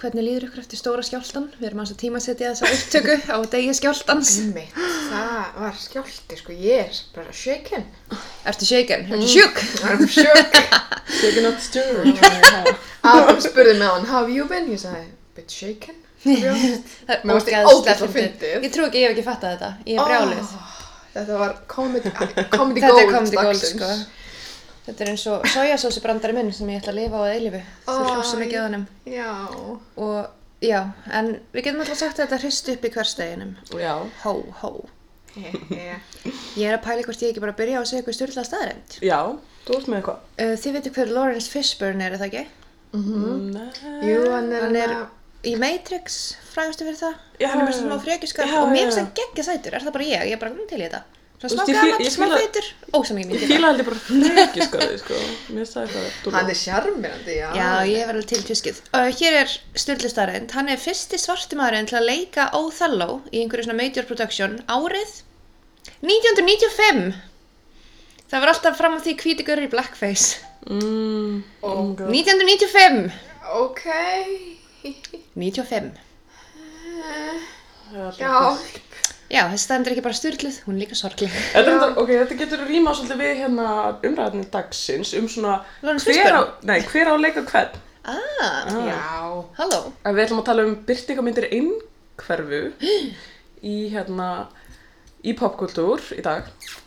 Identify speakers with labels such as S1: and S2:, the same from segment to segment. S1: hvernig líður ykkur eftir stóra skjáltan við erum aðeins að tímasetja þessa upptöku á degi skjáltans
S2: Einmitt, það var skjálti, sko, ég er bara shaken. Mm.
S1: ertu shaken, ertu sjúk
S2: I'm shook.
S3: Shaken up stirring.
S2: Adam spurði með hann, how have you been? Ég sagði, bit shaken.
S1: það er
S2: Mér fannst ég
S1: ógeðslega
S2: ógeðslega fyndið.
S1: ég trú ekki, ég hef ekki fattað þetta, ég er brjálið
S2: Oh, Þetta var comedy, uh, comedy
S1: Þetta
S2: gold.
S1: er comedy gold,
S2: dagsins.
S1: sko. Þetta er eins og sojasósubrandari minn sem ég ætla að lifa á að eilifu. Það
S2: Æ.
S1: er rosa mikið á hannum.
S2: Já.
S1: Og já, en við getum alltaf sagt að þetta hrist upp í hversteginum.
S3: Já.
S1: Hó, hó.
S2: Yeah.
S1: Ég er að pæla í hvort ég ekki bara byrja á að segja eitthvað styrla staðrænt.
S3: Já, þú ert með eitthvað.
S1: Uh, þið veitir hver Lawrence Fishburne er, er það ekki?
S3: Nei.
S2: Jú, hann er hérna-
S1: Hann er
S2: hana-
S1: í Matrix, frægastu fyrir það.
S3: Já,
S1: hann er með
S3: já,
S1: svona
S3: já.
S1: frekjuskar
S3: Já,
S1: og
S3: já,
S1: mér finnst
S3: já.
S1: hann geggja sætur. Er það bara ég? Ég er bara grunn til í þetta. Svona smá
S3: Þú veist, ég fí-
S1: gammal,
S3: ég
S1: smá
S3: fíla-
S1: feitur. Ósamið
S3: Ég
S1: mér.
S3: fíla aldrei bara freki sko, sko. Mér sagði það. dúlla.
S2: hann er sjarmirandi, já.
S1: Já, ég verði til tjuskið. Uh, hér er styrlistarind. Hann er fyrsti svarti maðurinn til að leika Othello í einhverju svona major production árið 1995. Það var alltaf fram á því hvíti görur í blackface.
S3: Mm, oh my god.
S1: 1995!
S2: Ok.
S1: 95.
S3: Já.
S2: Já.
S1: Já, þessi stendur ekki bara styrlið, hún er líka sorgleg.
S3: Þetta, er- ok, þetta getur ríma svolítið við hérna umræðinni dagsins um svona
S1: Lawrence
S3: hver á, nei, hver á að leika hvern.
S1: Ah,
S3: Ah.
S2: Já.
S1: halló.
S3: En við ætlum að tala um byrtingamyndir einhverfu í hérna í popkultúr í dag.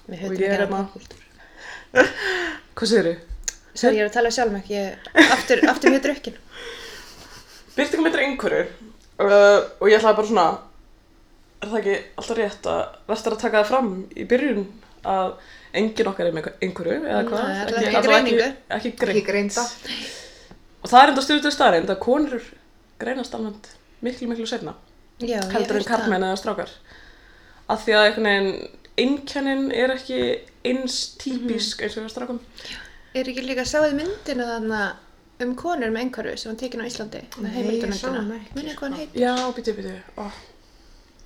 S1: Við
S3: Og
S1: höfum
S3: ég
S1: ekki að
S3: er hérna-
S1: popkultúr.
S3: Hvað segir þau?
S1: Svo ég er að tala sjálf með ekki, aftur, aftur mjög drukkin.
S3: Byrtingamyndir einhverju uh, og ég ætlaði bara svona er það ekki alltaf rétt að verður að taka það fram í byrjun að engin okkar er með einhverju eða
S1: Nei,
S3: hvað?
S1: allavega ekki
S3: allavega
S1: greiningu.
S3: Ekki,
S2: Ég
S3: ekki grein.
S2: greinda.
S3: Og það er enda stjórnum staðarind að konur greinast almennt miklu, miklu sefna.
S1: Já, ég
S3: heldur en
S1: heyrt það.
S3: karlmenn eða strákar af því að einhvern veginn einkennin er ekki eins
S1: Mhm.
S3: típisk eins og við strákum
S1: Er ekki líka sáðið myndina þarna um konur með einhverju sem var tekin á Íslandi?
S2: Nei, ég sá hana ekki,
S1: Munið hvað hann heit?
S3: já, býtu, býtu, ó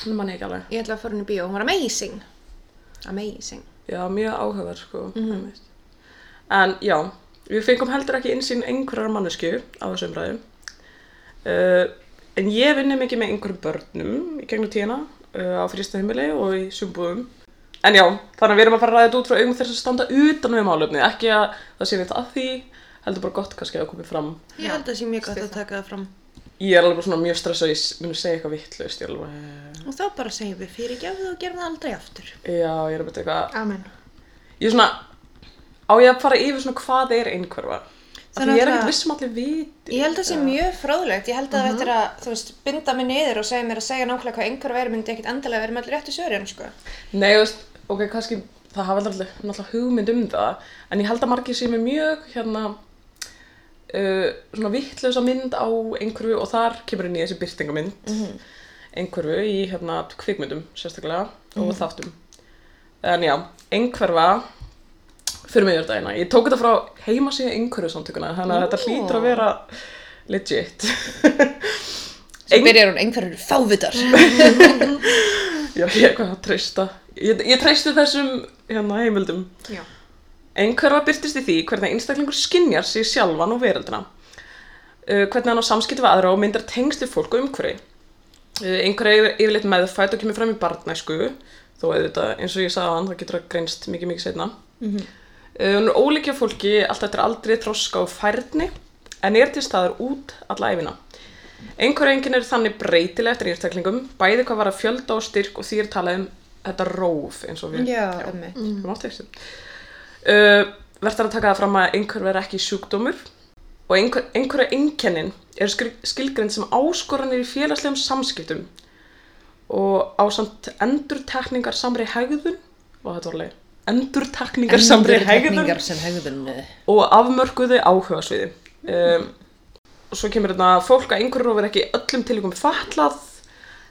S3: hann manni ekki alveg
S1: Ég ætla að fór hún í bíó, hún var amazing. Amazing.
S3: já, mjög áhugaverð sko einmitt. en já, við fengum heldur ekki einsinn einhverjar mannesku á þessum ræðum uh, en ég vinni mikið með einhverjum börnum í gegnum tíðina uh, á frístaheimili og í sumbúðum En já, þannig að við erum að fara að ræða þetta út frá augum þess að standa utan við málefni, ekki að það sé neitt að því, heldur bara gott kannski að það komið fram.
S1: Ég held að það sé mjög gott að taka það fram.
S3: Ég er alveg bara svona mjög stressað að ég s- muni segja eitthvað vittlaust, ég er alveg,
S1: Og þá bara segjum við fyrirgjafðu og gerum það aldrei aftur.
S3: já, ég er alveg eitthvað,
S2: Amen.
S3: ég er svona, á ég að fara yfir svona hvað er einhverfa? Þannig að ég er ekkert vissum allir viti.
S1: Ég held að það sé mjög fróðlegt. Ég held að það eftir að, þú veist, binda mig niður og segja mér að segja nákvæmlega hvað einhverju væri myndi ekkit endilega verið með allir réttu sörjum, sko.
S3: Nei, þú veist, ok, kannski það hafa allir náttúrulega hugmynd um það, en ég held að margir sé mér mjög, hérna, uh, svona vittlösa mynd á einhverfu og þar kemur inn í þessi byrtingamynd einhverfu í, hérna, kvikmyndum sérstaklega og þáttum. En já, einhverfa, fyrir mig þetta eina, ég tók þetta frá heimasíða einhverfu samtökuna, þannig að þetta
S1: Ó.
S3: hlýtur að vera legit.
S1: Svo
S3: Ein-
S1: byrjar hún einhverju eru fávitar.
S3: Já, ég er hvað að treysta. Ég, ég treysti þessum, hérna, heimildum.
S2: Já.
S3: Einhverfa byrtist í því hvernig einstaklingur skinjar sig sjálfan og veröldina, uh, hvernig hann á samskipti við aðra og myndar tengst við fólk og umhverfi. Uh, einhverja er yfirleitt meðfætt og kemur fram í barnæsku, þó auðvitað eins og ég sagði hann, það getur að greinst mikið mikið setna. Uh, hún er ólíkja fólki allt eftir aldrei þroska og færni, en er til staðar út alla æfina. Einhverja enginn er þannig breytileg eftir einstaklingum, bæði hvað var að fjölda og styrk og því er talað um þetta róf eins og við
S1: Já, ömmi.
S3: um áttvegstum. Uh, Verður að taka það fram að einhverf er ekki sjúkdómur og einhver, einhverja einkennin er skilgrind sem áskoranir í félagslegum samskiptum og á samt endurtekningar samri hegðun og þetta var leið endurtekningar samri hegðun
S1: sem hegðun. eh,
S3: og afmörkuðu áhugasviði. Um, og svo kemur þetta að fólk að einhverjum verður ekki í öllum tilíkum fatlað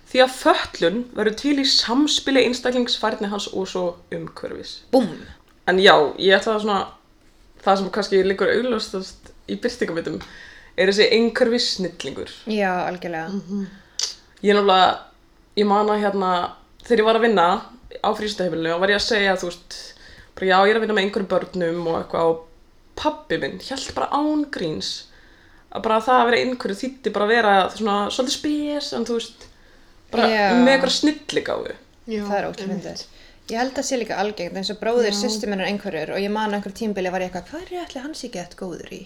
S3: því að fötlun verður til í samspili einstaklingsfærni hans og svo umhverfis.
S1: Búm.
S3: En já, ég ætla að svona, það sem kannski liggur augljóstast í byrtingamitum er þessi einhverfi snillingur.
S1: Já, algjörlega.
S2: Mhm.
S3: Ég er náttúrulega, ég man að hérna, þegar ég var að vinna á frístahefilinu og var ég að segja, þú veist, bara já, ég er að vinna með einhverjum börnum og eitthvað og pabbi minn held bara án gríns að bara það að vera einhverju þýtti bara að vera svona svolítið spes en þú veist bara
S1: Já.
S3: með eitthvað snilligáfu
S2: Já,
S1: það er ókvæmd
S2: einmitt.
S1: ég held að sé líka algengt eins og bróðir
S3: Já.
S1: systur minnar einhverjur og ég man á einhverjum tímbili var ég eitthvað hvað er ég ætli hans ekki eitthvað góður í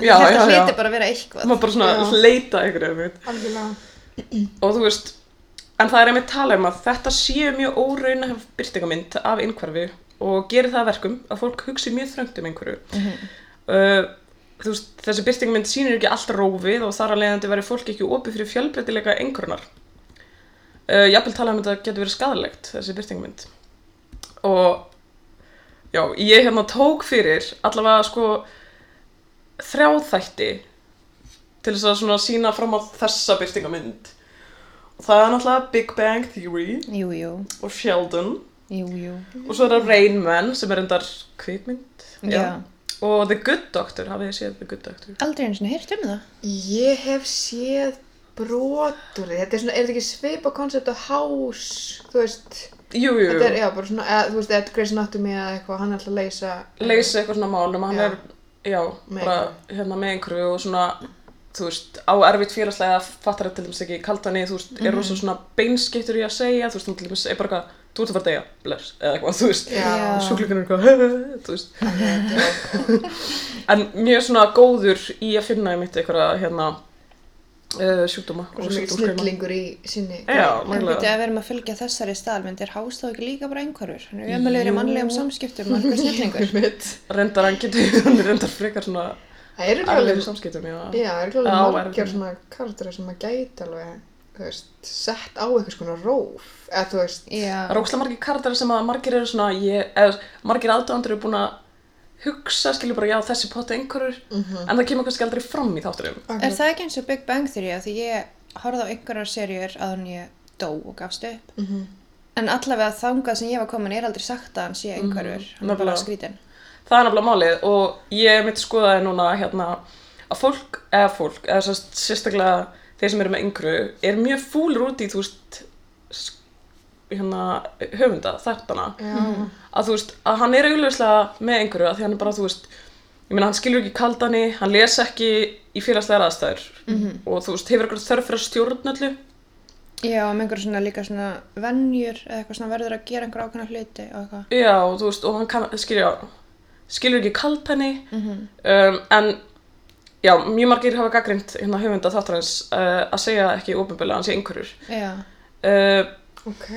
S1: Það
S3: Já,
S1: ég held að
S3: já, já.
S1: hliti bara að vera eitthvað
S3: maður bara svona
S2: Já.
S3: leita einhverju einmitt.
S2: Algjörlega.
S3: og þú veist en það er einmitt talað um að þetta séu mjög óraunahef byrtingamynd af einhverfi og gerir það að verkum að fólk hugsi mjög þröngt um einhverju uh, þú veist, þessi byrtingamynd sýnir ekki allt rófið og þar að leiðandi verið fólk ekki opið fyrir fjölbreytileika einhverjunar uh, jafnvel talað um að þetta getur verið skadalegt þessi byrtingamynd og já, ég hérna tók fyrir allavega sko þrjáþætti til þess að svona sína fram á þessa byrtingamynd og það er náttúrulega Big Bang Theory
S1: jú, jú,
S3: og Sheldon
S1: jú, jú
S3: og svo er það Rain Man sem er endar kvikmynd
S1: já.
S3: og The Good Doctor, hafið þið séð The Good Doctor?
S1: aldrei eins og hýrt um það
S2: Ég hef séð brotur þetta er svona, er þetta ekki svipa koncept á house, þú veist
S3: Jú, jú,
S2: þetta er,
S3: jú,
S2: já, bara svona, eða, þú veist, eða Grey's Anatomy eða eitthvað, hann er alltaf að leysa
S3: leysa eitthvað svona málum hann
S2: Já.
S3: er, já,
S2: Með
S3: bara hérna með einhverju og svona þú veist, á erfitt félagslega fattar þetta til dæmis ekki kaltani, þú veist,
S2: Mhm.
S3: er rosa svona beinskiptur í að segja, þú veist, hún til dæmis er bara eitthvað, þú ert að fara að deyja, bless, eða eitthvað, þú veist
S2: Já.
S3: og sjúklingur er eitthvað, þú veist
S2: Þetta er-
S3: en mjög svona góður í að finna einmitt einhverja hérna uh, sjúkdóma
S2: og svo mikið
S3: sjúkdómsgreina.
S2: snillingur í sinni
S3: Já,
S1: En býttu
S3: mægulega
S1: að við erum að fylgja þessari staðalmynd er hást þá ekki líka bara einhverjur hann er ömulegur í
S3: Jú.
S1: mannlegum samskiptum og einhver snillingur
S2: Einmitt.
S3: Reyndar hann getur, hann er reyndar frekar svona
S2: það eru
S3: erlegum
S2: klálega
S3: samskiptum, já
S2: já, það eru
S3: Já,
S2: klálega
S3: erfitt.
S2: margar svona karakterar sem að gæti alveg þú veist, sett á eitthvað svona róf eða þú veist,
S3: Það
S1: já,
S3: er ókslega margir kardar sem að margir eru svona ég, eða margir aðdóðandur eru búin að hugsa, skilur bara, já, þessi potta einhverjur en það kemur kannski aldrei fram í þátturum
S2: Mhm.
S1: er það ekki eins og Big Bang Theory af því ég horfði á einhverjar serjur að hann ég dó og gafst upp
S2: Mhm.
S1: en allavega þangað sem ég var komin er aldrei sagt að hann sé einhverjur hann er bara
S3: nefnilega.
S1: skrítin
S3: Það er nefnilega málið og ég mitt skoðaði núna hérna að fólk, eða fólk, eða sérst, sérstaklega þeir sem eru með yngru, er mjög fúlir út í, þú veist, s- hérna, höfunda, þættana,
S2: já,
S1: Mm.
S3: að þú veist, að hann er augljóslega með einhverju að því hann er bara, þú veist, ég meina, hann skilur ekki kaldani, hann les ekki í félagslegar aðstæður
S2: Mhm.
S3: og þú veist, hefur eitthvað þörf fyrir að stjórn öllu.
S1: já, um einhverjum svona líka svona venjur eða eitthvað svona verður að gera einhver ákveðna hluti og eitthvað
S3: Já, og þú veist, og hann kann, skilja, skilur ekki kaldani,
S1: Mhm.
S3: um, en já, mjög margir hafa gaggrind hérna höfunda þáttarins uh, að segja ekki ofinbjörlega hans í einhverjur.
S1: já,
S3: Uh,
S2: ok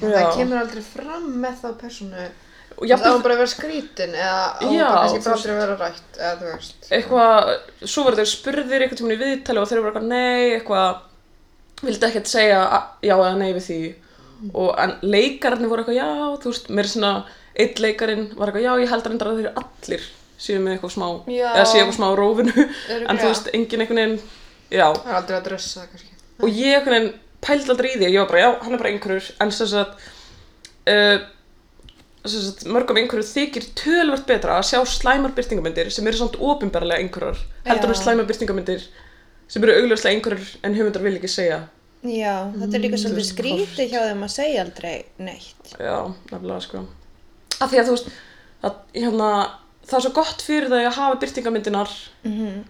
S3: Já.
S2: það kemur aldrei fram með þá personu það á
S3: og
S2: hún
S3: jafnvel
S2: bara að vera skrítin eða á hún
S3: Já,
S2: bara kannski
S3: þú
S2: bara aldrei að vera rætt eða þú veist
S3: eitthvað, svo verður þeir spurðir eitthvað tíma í viðtali og þeir eru bara eitthvað nei, eitthvað, vildi ekkert segja a- já eða nei við því. Og en leikararnir voru eitthvað já, þú veist, mér er svona, eitt leikarinn var eitthvað já, ég held að reyndar að þeir allir séu með eitthvað smá,
S1: Já.
S3: eða séu eitthvað smá á rófinu, en þú
S1: Örugglega.
S3: veist, enginn einhvern veginn, já.
S2: það er aldrei að dressa það kannski
S3: og ég einhvern veginn pældi aldrei í því ég var bara, já, hann er bara einhverjur en sem sagt, uh, sem sagt mörgum einhverjur þykir tölvart betra að sjá slæmar byrtingamyndir sem eru samt opinberlega einhverjar heldur
S1: Já.
S3: en slæmar byrtingamyndir sem eru augljóslega einhverjar en höfundar vil ekki segja
S1: já, þetta er líka svolítið
S3: veist,
S1: skrítið hjá þeim að segja aldrei neitt
S3: já, nefnilega sko af því að þú veist að, hérna, það er svo gott fyrir þau að hafa byrtingamyndinar
S1: Mhm.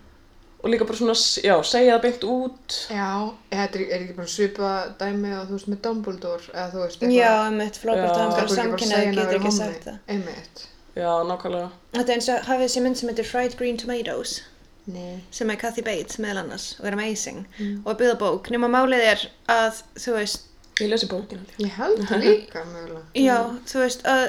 S3: og líka bara svona, já, segja það beint út
S2: já, eða þetta er, er ekki bara svipa dæmi og þú veist með Dumbledore eða þú veist
S1: Já, um eitt
S3: Já.
S1: flókvart að hann
S2: það
S1: fyrir samkynnaði getur ekki sagt það.
S2: einmitt
S3: já, nákvæmlega
S1: Þetta er eins og hafið þessi mynd sem heitir Fried Green Tomatoes
S2: nei
S1: sem er Kathy Bates meðal annars og er amazing og er byggða bók nema málið er að þú veist,
S3: ég lesi bókina því
S2: ég held það líka mögulega
S1: já, þú veist að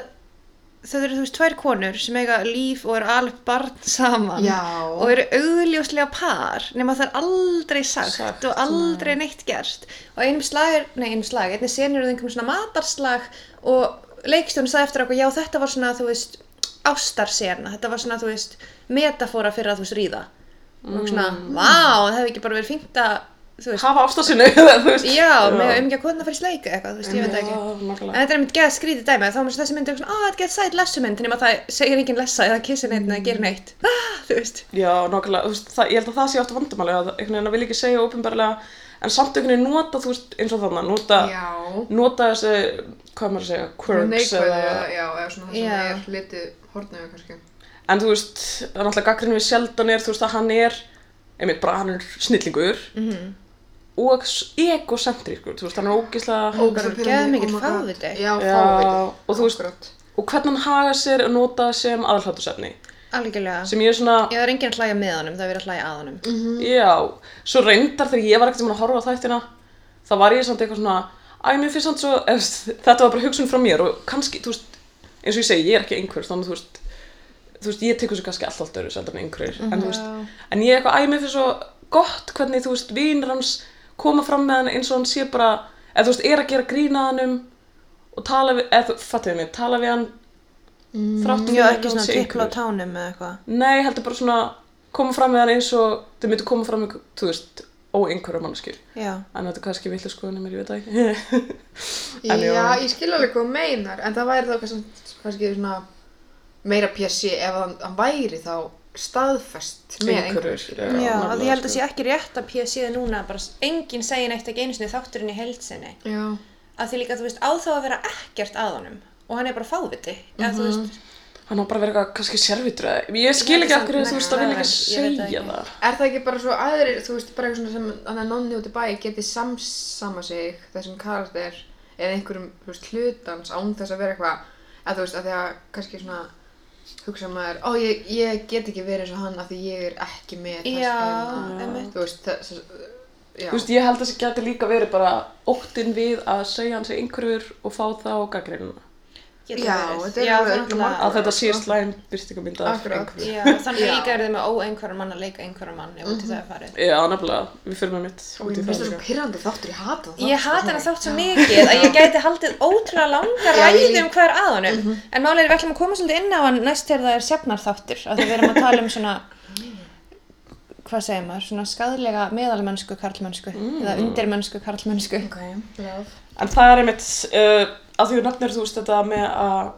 S1: þetta eru þú veist tvær konur sem eiga líf og eru alveg barn saman
S2: Já.
S1: og eru augljóslega par nema það er aldrei sagt,
S3: Sagt,
S1: og aldrei neitt gert og einum slag, er- nei einum slag, einnig senur er það einhverjum svona matarslag og leikstjórn sagði eftir okkur, já þetta var svona þú veist ástarsena, þetta var svona þú veist metafóra fyrir að þú veist ríða
S3: Mm.
S1: og svona, vá, það hefði ekki bara verið fínt að, þú veist,
S3: hafa ástarsinu, þú veist
S1: já, með umgjá kona fyrir sleika eitthvað, þú veist, ég veit það ekki En
S3: nákvæmlega
S1: þetta er einmitt geða skrítið dæmi, þá er maður svo þessi mynd eitthvað svona, á, þetta geða sæt lessumynd, nema það segir enginn lessa eða kissir neitt eða gerir neitt. Ah, þú veist.
S3: Já, nákvæmlega, þú veist, það, ég held að það sé ofta vandamáli að einhvern veginn að vilja ekki segja ofinbarlega en samt einhvern veginn nota, þú veist, eins og þannig nota,
S2: já
S3: nota þessi, hvað á maður að segja, quirks
S2: neikvæðu
S3: eða,
S2: eða- já, eða svona það sem
S1: Já.
S2: er litið hortnöðu kannski
S3: en þú veist, það er náttúrulega gaggrinu við Sheldon er, þú veist, að hann er einmitt bara hann er snillingur -hmm. og s- egocentrískur, þú veist, hann er ógislega
S1: bara
S2: Ógeðslega
S1: geðmikill
S2: oh my god.
S1: fáviti.
S2: Já,
S3: Já,
S2: fáviti.
S3: og þú veist-
S2: Akkurat.
S3: og hvernig hann haga sér að nota sem aðhlátusefni
S1: algjörlega. Mhm.
S3: sem ég er svona,
S1: Já, það er enginn að hlæja með honum, það er verið að hlæja að honum.
S3: já svo reyndar þegar ég var ekkert sem að horfa á þættina þá var ég samt eitthvað svona æ, mér finnst samt svo, efst, þetta var bara hugsun frá mér og kannski, þú veist, eins og ég segi ég er ekki einhver, þannig að þú veist þú veist, ég tekur svo kannski alltaf dörru sjaldan einhverjir
S1: Mhm.
S3: en þú veist, en ég er eitthvað, æ, mér finnst svo gott hvernig, þú veist, vinur hans koma fram með hann eins og hann sé bara eða þú veist, er að gera grína hann um og tala við, eða þú, fattuðu mig, tala við hann mm.
S1: Mhm.
S3: þrátt
S1: Já,
S3: fyrir að
S1: ekki
S3: hann
S1: svona
S3: sé
S1: tippla á
S3: einhver.
S1: tánum eða eitthvað.
S3: Nei, heldur bara svona koma fram með hann eins og þau myndu koma fram með, þú veist, ó einhverja mannskjur.
S1: Já.
S3: En þetta er kannski villu skoðunum mér, ég veit það ekki. En já.
S2: Já, ég skil alveg hvað þú meinar, en það væri þá kannski, kannski svona meira pjessi ef hann, hann væri þá staðfest með einhverjum.
S3: Einhverjur,
S2: skilurðu.
S3: Já,
S1: Já, af því ég held
S2: sko.
S3: nefnilega,
S1: að sé ekki rétt að Pía síða núna bara s- enginn segir neitt ekki einu sinni þátturinn í heldsinni
S2: Já,
S1: af því líka, þú veist, á þá að vera ekkert að honum og hann er bara fáviti eða
S2: Mhm.
S1: þú veist,
S3: Hann á bara að vera eitthvað kannski sérvitur eða, ég skil ekki af hverju þú veist, það vil ekki
S1: Ég veit það
S3: segja
S1: ekki.
S3: það.
S2: er það ekki bara svo aðrir, þú veist, bara eitthvað svona sem hann er nonni út í bæ geti samsama sig þessum karakter eða einhverjum, þú veist, hlutans án þess að vera eitthvað, að þú veist, að því að kannski svona hugsa maður, ó, ég, ég get ekki verið eins og hann af því ég er ekki með þess
S1: já,
S2: eina."
S1: emmi
S2: Þú veist, þess, já.
S3: Þú veist, ég held að það geti líka verið bara óttinn við að segja hann sig einhverjur og fá það á gaggrinuna.
S1: getur
S2: Já,
S1: verið.
S2: þetta er
S1: já,
S2: alveg
S1: það er
S2: örugglega
S1: náttúrulega-
S3: Að þetta sé slæm byrtingamynda af
S2: Akkurat.
S3: einhverju.
S1: já, Mhm. þannig
S2: Já.
S1: líka er þið með ó einhverjum mann að leika einhverjum mann ef út í það er farið
S3: Já, nefnilega, við fyrir með mitt
S2: Og
S3: út
S2: ég finnst
S3: í það
S2: það svo
S3: líka.
S2: pyrrandi þáttur, ég hata það.
S1: Ég hata hann þátt svo mikið að ég gæti haldið ótrúlega langa
S2: Já, ég
S1: ræði
S2: líka.
S1: um hver að honum en málið er við ætlum að koma svolítið inn á hann næst þegar það er sjafnarþáttur af því við erum að tala um svona hvað segir maður, svona skadlega meðalmennsku karlmennsku eða undirmennsku karlmennsku
S2: Ok, love.
S3: En það er einmitt, uh, að því þú nefnir þú veist þetta með að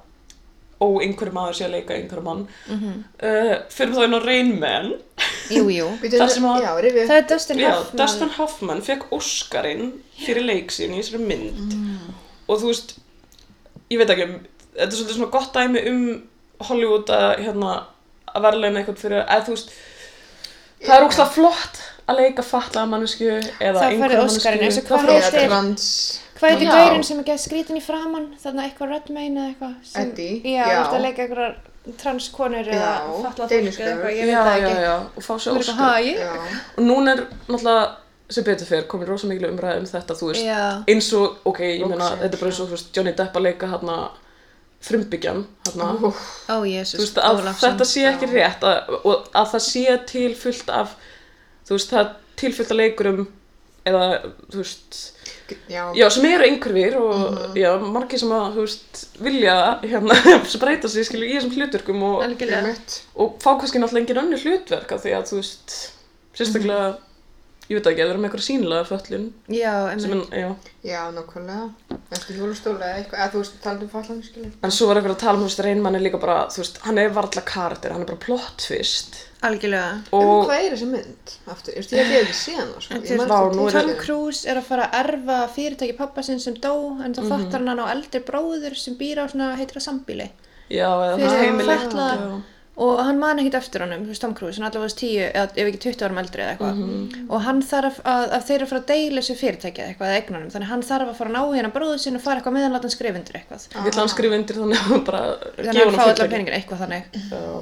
S3: ó, einhver maður sé að leika einhver mann mm
S1: Mhm.
S3: -hmm. uh, fyrir þá inn á Rain Man
S1: Jú, jú,
S3: Þar sem að-
S2: Já, rifið.
S1: það er Dustin
S3: Já,
S1: Hoffman
S3: Dustin Hoffman fekk Óskarinn fyrir leik sín í þessari mynd
S1: Mm.
S3: og þú veist ég veit ekki, þetta er svolítið svona gott dæmi um Hollywood að hérna að verðleina eitthvað fyrir að þú veist það er ógslag flott að leika fatlaða mannesku eða
S1: Þá færðu
S3: einhverja
S1: Óskarinn, eins
S3: mannesku
S1: og
S3: Þá
S1: hvað
S3: færðu
S1: heitir-
S3: Óskarinn.
S2: trans.
S1: Hvað heitir
S3: Já.
S1: gaurinn sem er gæð skrítin í framann? Þarna eitthvað Redmayne eða eitthvað sem-
S2: Eddie,
S1: Já,
S2: já.
S1: eftir að leika eitthvað transkonur eða
S2: Já,
S1: fallað fólk
S2: deiluskur.
S1: eða eitthvað, ég
S3: Já,
S1: veit það
S3: já,
S1: ekki
S3: já, og fá sér
S1: Þú eru bara,
S3: Óskar
S1: "Ha, ég?"
S2: Já.
S3: og núna er náttúrulega sem betur fyrr komin rosa miklu umræði um þetta þú veist,
S1: Já.
S3: eins og, ok, ég meina
S2: Loksins,
S3: þetta er bara eins og þú veist, Johnny Depp að leika hérna frumbyggjan hérna,
S1: Ó, Jesús,
S3: þú veist, að
S1: Ólafsson.
S3: þetta sé ekki rétt að, og að það sé til fullt af þú veist, það er til fullt af leikurum eða, þú veist
S2: Já.
S3: já, sem eru einhverfir og
S1: Mhm.
S3: já, margir sem að, þú veist, vilja hérna, spreita sig, skilju, í þessum hluturkum og,
S1: Algjörlega
S2: Einmitt.
S3: og fá kannski náttúrulega engin önnur hlutverk af því að þú veist sérstaklega, ég veit ekki, að vera með eitthvað sínilega föllun
S1: Já,
S3: sem
S1: emmi
S3: en, já,
S2: Já, nákvæmlega. Eftir hjólustóla eða eitthvað, eða þú veist, talandi um fallan, skilur.
S3: en svo var eitthvað að tala um þú veist, reynmann er líka bara, þú veist, hann er varla karakter, hann er bara plot twist
S1: Algjörlega
S2: Og...
S3: og
S2: Hvað er þessi mynd? Aftur, ég veist, ég hef ekki séð hana, sko.
S1: En
S2: Ég
S1: þeir-
S2: man
S3: Vá,
S2: eftir
S3: nú er
S1: Tom
S2: titlinum.
S1: Cruise er að fara að erfa fyrirtæki pappa sinn sem dó en
S3: Mhm.
S1: þá fattar hann hann á eldri bróður sem býr á svona heitra sambíli
S3: já, eða
S1: Fyrir
S3: heimili
S1: fatlaða.
S3: Já.
S1: og hann man ekkert eftir honum, þú veist Tom Cruise, hann er allavega 10 eða ef ekki 20 árum eldri eða eitthvað
S3: Mhm.
S1: og hann þarf að, að þeir eru að fara að deila þessu fyrirtæki eða eitthvað eða eignunum, þannig að hann þarf að fara að ná hérna bróður sinn og fara eitthvað meðan láta hann skrifa undir eitthvað
S3: vill hann skrifa undir þannig að hann bara
S1: Ah. þannig að hann fá allar
S3: fyrirtæki.
S1: peningin eitthvað þannig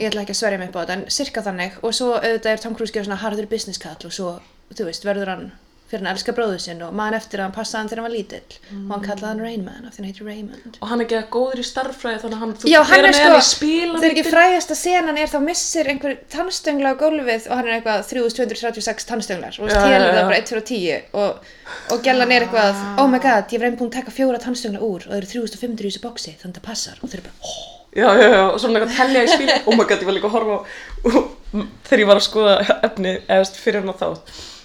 S1: ég ætla ekki að sverja mig upp á þetta, en sirka þannig og svo auðvitað er Tom Cruise gera svona harður business kall og svo, þú veist, verður hann fyrir hann að elska bróður sinn og man eftir að hann passaði hann þegar hann var lítill og hann kallaði hann Rain Man af því hann heitir Raymond
S3: og hann er ekki að góður í starffræði þannig að hann, þú
S1: Já,
S3: veist,
S1: hann
S3: vera
S1: er
S3: með
S1: sko,
S3: hann í spila
S1: þegar ekki frægasta senan er þá missir einhver tannstöngla á gólfið og hann er eitthvað 3236 tannstönglar og
S3: Já,
S1: það er
S3: já, já.
S1: það bara 1 fyrir 10 og, og gellan er eitthvað, oh my god, ég var einnig búin að taka fjóra tannstöngla úr og það eru 3500 í þessu boksi þannig það passar og þeir eru bara, oh,
S3: já, já, já, og svona eitthvað telja í spila oh my god, ég var líka að horfa á þegar ég var að skoða efni eða fyrir hann að þá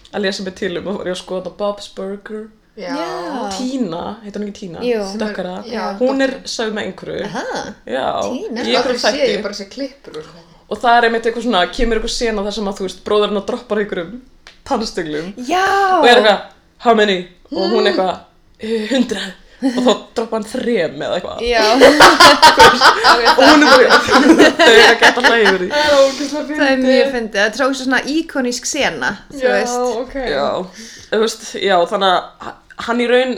S3: að lesa mig til um og var ég að skoða þetta Bob's Burger
S2: Já.
S1: Já.
S3: Tína, heitir hún ekki Tína?
S1: Ah. Jú.
S3: Dökkara,
S2: Já,
S3: hún er
S2: dökkari.
S3: sögð með einhverju
S1: aha,
S3: Já,
S1: Tina.
S3: í
S2: Aldrei
S3: einhverju
S2: séð, ég
S3: þætti
S2: bara sé klippur úr honum.
S3: Og það er einmitt eitthvað svona, kemur eitthvað sena þar sem að þú veist, bróðurinn að droppar einhverjum tannstöglum
S1: já Hmm.
S3: Og er eitthvað, how many? Og hún eitthvað, "Eh, 100 og þá droppa hann þrem eða eitthvað
S1: Já. Ok,
S3: og hún er bara þau er að geta hlæði yfir því
S2: Það er ógæslega fyndið.
S1: Það er mjög fyndið, þetta er ógst svona íkonísk sena, þú
S2: Já,
S1: veist.
S2: ok.
S3: já, þú veist, já, þannig að h- hann í raun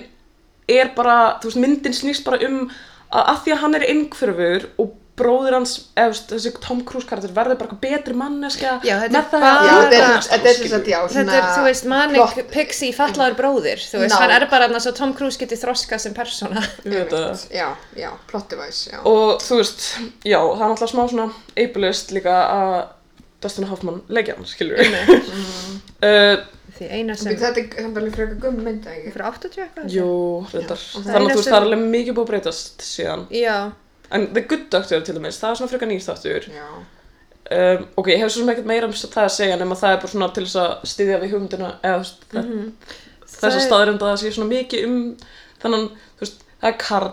S3: er bara þú veist, myndin snýst bara um að, að því að hann er einhverfur og bróðir hans, eða þú veist, þessi Tom Cruise karakter verður bara eitthvað betri manneskja
S1: Já, þetta er
S3: með það
S1: bara-
S2: Já, þetta er,
S1: Bara-
S2: þetta er þess að, já,
S1: Þetta er, þú veist, manic
S2: plott-
S1: pixie fallaður bróðir, þú veist,
S2: Ná.
S1: hann er bara annars að Tom Cruise geti þroskað sem persóna.
S3: Ég veit það.
S2: Já, já, plot device, já.
S3: og þú veist, já, það er alltaf smá svona eipulist líka að Dustin Hoffman leggja hann, skilur við
S2: Mm.
S3: uh,
S1: Því eina sem,
S2: Sem, þetta er samt alveg frekar gömmu mynd, eða ekki?
S1: fyrir 80 eitthvað?
S3: jú, reyndar
S2: og það
S3: þannig
S1: er
S3: að þú veist,
S1: næstum-
S3: það er alveg mikið búið að breytast síðan
S1: Já,
S3: en The Good Doctor til dæmis, það er svona frekar nýr þáttur
S2: Já.
S3: um, ok, ég hef svo sem ekkert meira um það að segja nema það er bara svona til þess að styðja við hugmyndina eða þú veist, mm -hmm.
S1: Mhm, Það
S3: þess
S1: er-
S3: að staðurinn það sé svona mikið um þannig, þú veist, það er Karl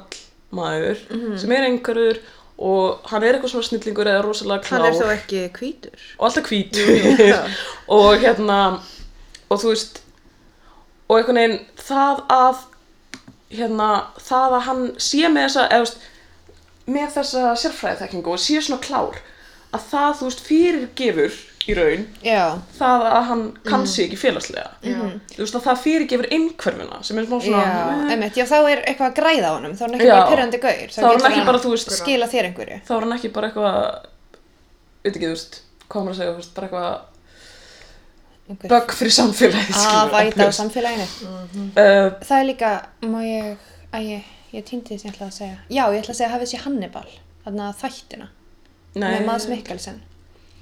S3: maður
S1: Mhm.
S3: sem er einhverjur og hann er eitthvað svona snillingur eða rosalega klár
S1: hann er þó ekki hvítur.
S3: og alltaf hvít og hérna og þú veist og einhvern veginn það að hérna það að hann sé með þessa eða, þú veist, með þessa sérfræðiþekkingu og sé svona klár að það þú veist fyrirgefur í raun
S1: Já,
S3: það að hann kann
S1: Mm.
S3: sig ekki félagslega
S2: Já.
S1: Mhm.
S3: þú veist að það fyrirgefur einhverfuna sem er smá svona
S1: já,
S3: eh,
S1: emmitt, já, þá er eitthvað að græða á honum, þá er hann ekki
S3: Já.
S1: bara pyrrandi gaur.
S3: þá er hann
S1: getur
S3: ekki bara þú veist
S1: Skila þér einhverju.
S3: þá er hann ekki bara eitthvað veit ekki þú veist hvað á maður að segja þú veist bara eitthvað
S1: Einhver
S3: bögg fyrir samfélagið
S1: að
S3: skilur,
S1: væta á
S3: obvious.
S1: samfélaginu.
S3: Eh,
S1: Það er líka, má ég, að ég, ég týndi því sem ég ætlaði að segja. Já, ég ætlaði að segja hafið sér Hannibal, þarna þættina,
S3: Nei,
S1: með Mads Mikkelsen.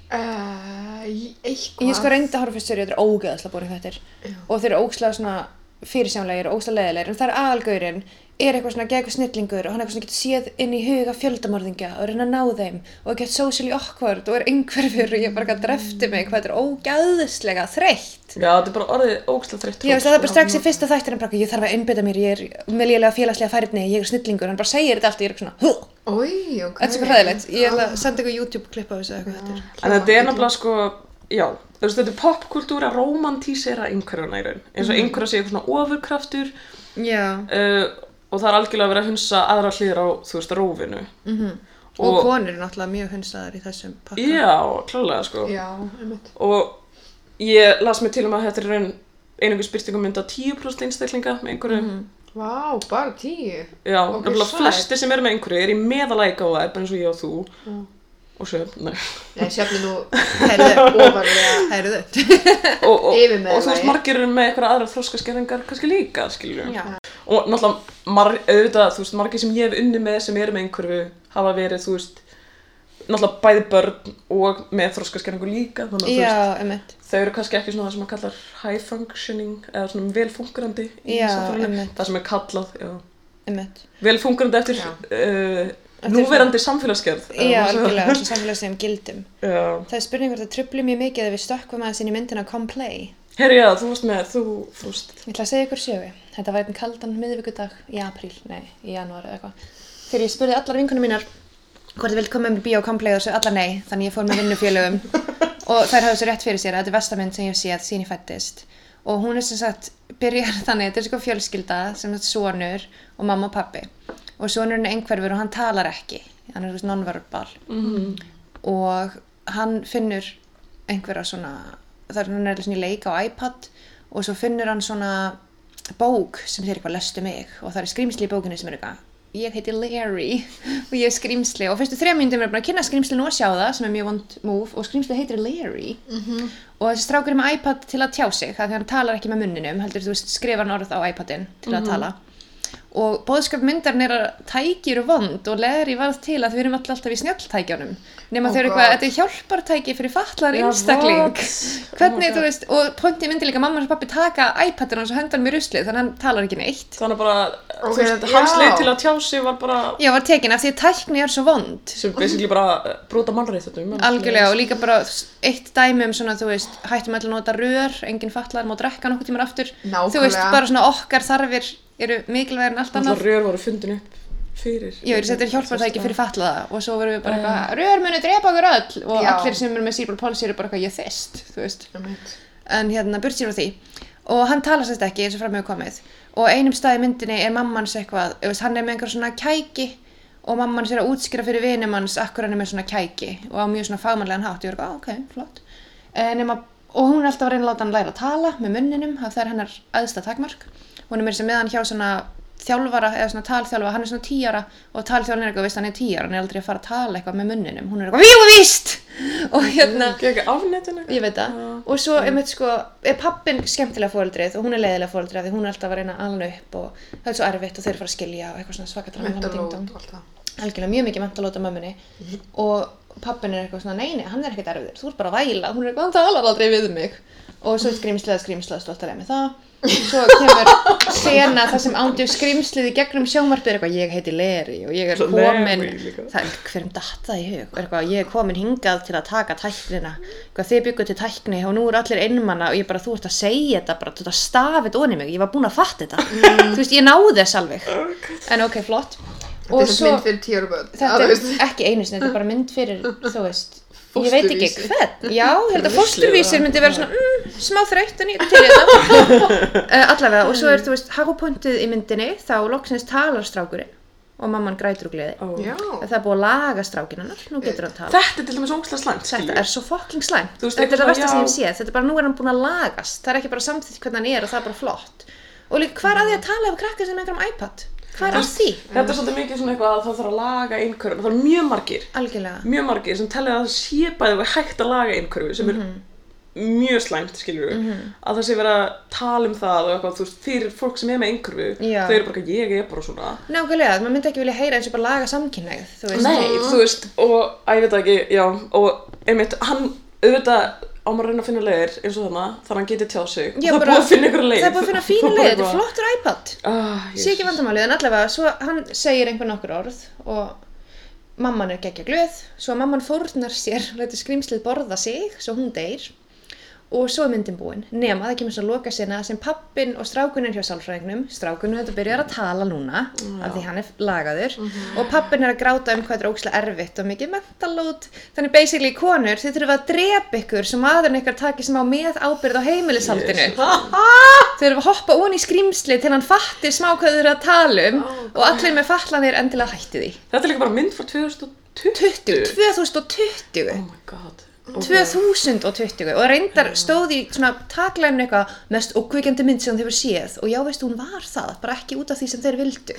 S2: Uh, eitthvað.
S1: Ég sko reyndi að horfa fyrst sér, þetta er ógeðslega búin þetta
S2: Já.
S1: og þeir eru ógeðslega svona fyrirsjónlegir og ógeðslega leðilegir, en það er aðalgaurinn, er eitthvað svona gegn snillingur og hann eitthvað svona getur séð inn í huga fjöldamorðingja og reyna að ná þeim og er gett socially awkward og er einhverfur og ég bara gæti drefti mig hvað þetta er ógeðslega þreytt.
S3: Já, þetta er bara orðið ógæslega þreytt
S1: Ég veist það er bara strax í fyrsta þættinum bara, ég þarf að einbytta mér, ég er með lélega félagslega færni, ég er snillingur, hann bara segir þetta allt og ég er eitthvað svona, hú,
S2: Ói, ok.
S1: þetta
S2: Ah,
S1: er svo hræðilegt, ég ætla að senda eitthvað YouTube klipp af þessu eða eitthvað þetta er.
S3: En þetta er nefnilega sko, já, þú veist, þetta er popkultúra að romantísera einhverjana í raun eins
S1: Mhm.
S3: og einhverja sé eitthvað svona ofurkraftur
S1: Mm. Já,
S3: uh, og það er algjörlega verið að hunsa aðra hliðar á, þú veist, rófinu
S1: Mhm. og, konur er náttúrulega mjög hunsaðar í þessum pakka.
S3: Já, klálega sko
S2: Já, einmitt.
S3: Og ég las mig til um að þetta er í raun einhverjum spyrtingum mynda 10% einstaklinga með einhverju
S1: Mhm.
S2: Vá, bara tíu.
S3: Já,
S2: Ok,
S3: nefnilega
S2: sæt.
S3: flesti sem eru með einhverju er í meðalæk á það, bara eins og ég og þú og svo, nei
S2: Nei, sjöfni nú
S1: Herðu,
S2: ofarlega.
S1: herðu.
S3: og, og,
S2: Yfir með
S3: og þú veist,
S2: lagi.
S3: margir eru með eitthvað aðra þróskaskerðingar kannski líka, skiljum
S1: Já.
S3: og náttúrulega, mar, auðvitað, þú veist, margir sem ég hef unni með sem eru með einhverju hafa verið, þú veist náttúrulega bæði börn og með þróskaskerðingu líka þannig að þú veist,
S1: Já, emmitt.
S3: þau eru kannski ekki svona það sem maður kallar high functioning eða svona velfungrandi í
S1: Já,
S3: samfélaginu
S1: einmitt.
S3: það sem er kallað, já
S1: Einmitt.
S3: velfungrandi eftir
S2: Já.
S3: uh,
S1: Eftir
S3: núverandi samfélagsgerð eða
S1: Já,
S3: svona-
S1: algjörlega, þessum samfélagslegum gildum.
S3: Já.
S1: Það er spurning hvort það trubli mjög mikið ef við stökkvum aðeins inn í myndina Come Play.
S3: Herri, já, þú varst með, þú, þú veist
S1: Ég ætla að segja ykkur sögu. Þetta var einn kaldan miðvikudag í apríl, nei, í janúar eða eitthvað. Þegar ég spurði allar vinkunum mínar hvort þið vilt koma með mér í bíó og Come Play og þessu allar nei, þannig ég fór með vinnufélögum og þær hafðu svo rétt fyrir sér að þetta er vestamind sem ég hef séð síðan ég fættist og hún er sem sagt, byrjar þannig, þetta er sko fjölskylda sem sagt sonur og mamma og pappi og sonurinn er einhverfur og hann talar ekki, hann er þú veist nonverbal og hann finnur einhverja svona það er hann er svona í leik á iPad og svo finnur hann svona bók sem þeir eitthvað lestu mig og það er skrýmsli í bókinni sem er eitthvað ég heiti Larry og ég er skrýmsli og fyrstu þrjá myndum er bara að kynna skrýmsli nú að sjá það sem er mjög vond move og skrýmsli heitir Larry -hmm. og þessi strákur er með iPad til að tjá sig af því hann talar ekki með munninum heldur þú veist skrifar hann orð á iPadin til
S3: Mhm.
S1: að tala og bóðskap myndarinn er að tæki eru vond og leðri varð til að við erum öll alltaf í snjalltækjunum nema
S2: Oh
S1: þau eru eitthvað,
S2: God.
S1: þetta er hjálpartæki fyrir fatlar
S3: Já,
S1: einstakling
S3: what?
S1: hvernig,
S3: Oh my
S1: þú
S3: God.
S1: veist, og pointi myndi líka mamma og pappi taka iPadin hans og henda hann í ruslið þannig að hann talar ekki neitt
S3: þannig bara,
S2: Ok,
S3: þú veist,
S2: já.
S3: hans leið til að tjá sig var bara
S1: Já, var tekin af því að tækni er svo vond
S3: sem basically bara eh, brota mannréttindum eða
S1: algjörlega og líka bara eitt dæmi um svona, þú veist, hættum allir að nota rör enginn fatlar má drekka nokkuð tímar aftur þú veist,
S2: Nákvæmlega.
S1: bara svona okkar þarfir eru mikilvægir en allt
S3: Þannig
S1: annað
S3: að rör voru fundin upp fyrir
S1: Já, þetta er hjálpartæki fyrir fatlaða og svo verðum við bara eitthvað, rör muni drepa okkur öll og
S2: Já.
S1: allir sem eru með cerebral palsy eru bara eitthvað, ég þist, þú veist.
S2: Einmitt.
S1: En hérna, burt sér frá því. og hann tala sérst ekki eins og fram hefur komið og á einum stað í myndinni er mammans eitthvað þú veist, hann er með einhver svona kæki og mammans er að útskýra fyrir vinum hans akkur hann er með svona kæki og á mjög svona fagmannlegan hátt ég er eitthvað, ok, flott Eh, nema, og hún er alltaf að reyna að láta hann læra að tala með munninum, að það er hennar aðsta takmark hún er með sem meðan hjá svona þjálfara eða svona talþjálfara, hann er svona tíjara og talþjálfara er eitthvað, veist hann er tíjara hann er aldrei að fara að tala eitthvað með munninum hún er eitthvað, jú víst og hérna,
S3: Ekki ekki afnettinu?
S1: ég veit það og svo er, sko, er pappin skemmtilega fóreldrið og hún er leiðilega fóreldrið því hún er alltaf að reyna allan upp og það er svo erfitt og þeir fara að skilja og eitthvað svona svaka drama
S2: Mental load
S1: ding-dong.
S2: og allt það.
S1: algjörlega mjög mikið mentalóta mömmunni og pappin er eitthvað svona, nei, nei, hann er ekkert erfiður þú er bara að væla, hún er eitthvað, hann talar aldrei við mig og svo er skrýmslið að skrýmslið stoltar er með það svo kemur sena það sem ándjöf skrýmslið í gegnum sjómarpið er eitthvað, ég heiti Leri og ég er
S3: Svo
S1: komin
S3: Leri líka.
S1: það er hverjum datt það í hug og eitthvað, ég er komin hingað til að taka tæknina eitthvað, þið byggu til tækni og nú eru allir einmanna og ég bara, þú ert að segja þetta bara, þú ert að stafa þetta onni mig, ég var búin að fatta þetta þú veist, ég náði þess alveg en ok, flott
S2: Mm. Oh, Þetta er svo mynd fyrir tíu ára börn.
S1: þetta
S2: að þú
S1: er
S2: veist.
S1: ekki einu sinni, þetta er bara mynd fyrir, þú veist, ég veit ekki
S2: Fósturvísi.
S1: hvern, já, ég held að
S3: Fósturvísi,
S1: fósturvísir
S3: já.
S1: myndi vera svona, mm, smá þreytt en ég er til í þetta, uh, allavega, og svo er, þú veist, hagupunktið í myndinni, þá loksins talar strákurinn og mamman grætur og gleði,
S3: Ó.
S2: Já.
S1: það er búið að laga strákinn hennar, nú getur hann talað.
S3: Þetta er til dæmis ógslag slæmt,
S1: Þetta
S3: skilju.
S1: er svo fucking slæmt,
S3: Þú veist,
S1: þetta er það
S3: eitthvað,
S1: versta sem ég hef
S3: já.
S1: séð, þetta er bara, nú er hann búin að lagast, það er ekki bara samþýtt hvernig hann er og það er bara flott. Og líka, hvað er að því að
S3: Mm.
S1: tala ef krakkar sem einhverjum iPad? Hvað er að því?
S3: Þetta er svolítið mikið svona eitthvað að það þarf að laga einhverjum. Það er mjög margir,
S1: Algjörlega.
S3: mjög margir sem telja að það sé bæði og hægt að laga einhverju sem er
S1: Mhm.
S3: mjög slæmt, skilju. Að það sé verið að tala um það og eitthvað, þú veist, fyrir fólk sem er með einhverju,
S1: Já.
S3: þau eru bara eitthvað, ég er bara svona.
S1: Nákvæmlega, maður myndi ekki vilja heyra eins og bara laga samkynneið, þú veist.
S3: Nei, þú veist, og að ég veit það ekki, já, og einmitt, hann, auðvitað, á maður að reyna að finna leiðir eins og þannig, þar að hann geti tjáð sig.
S1: Ég
S3: og það er búið að finna einhverja leið.
S1: Það er búið að finna fína leið, þetta er flottur iPad.
S3: Ah,
S1: Sé ekki vandamálið, en allavega, svo hann segir einhver nokkur orð og mamman er geggja glöð, svo mamman fórnar sér, lætur skrýmslið borða sig, svo hún deyr og svo er myndin búin. Nema, það kemur svo loka sinna sem pappin og strákunin hjá sálfræðingnum, strákunin þetta byrjar að tala núna, af því hann er lagaður, og pappin er að gráta um hvað þetta er ókslega erfitt og mikið mentalót. Þannig basically konur, þið þurfum að drepa ykkur svo maðurinn ykkar takir smá með ábyrð á heimilishaldinu. Þau eru að hoppa ón í skrýmsli til hann fattir smá hvað þau eru að tala um og allir með fatlanir endilega hætti því.
S3: Þetta er líka bara mynd frá 2020.
S1: 2020.
S3: Oh my god. Oh.
S1: 2020 og reyndar stóð í svona taklæmni eitthvað mest okkvikjandi mynd sem þau hefur séð og já veistu hún var það, bara ekki út af því sem þeir vildu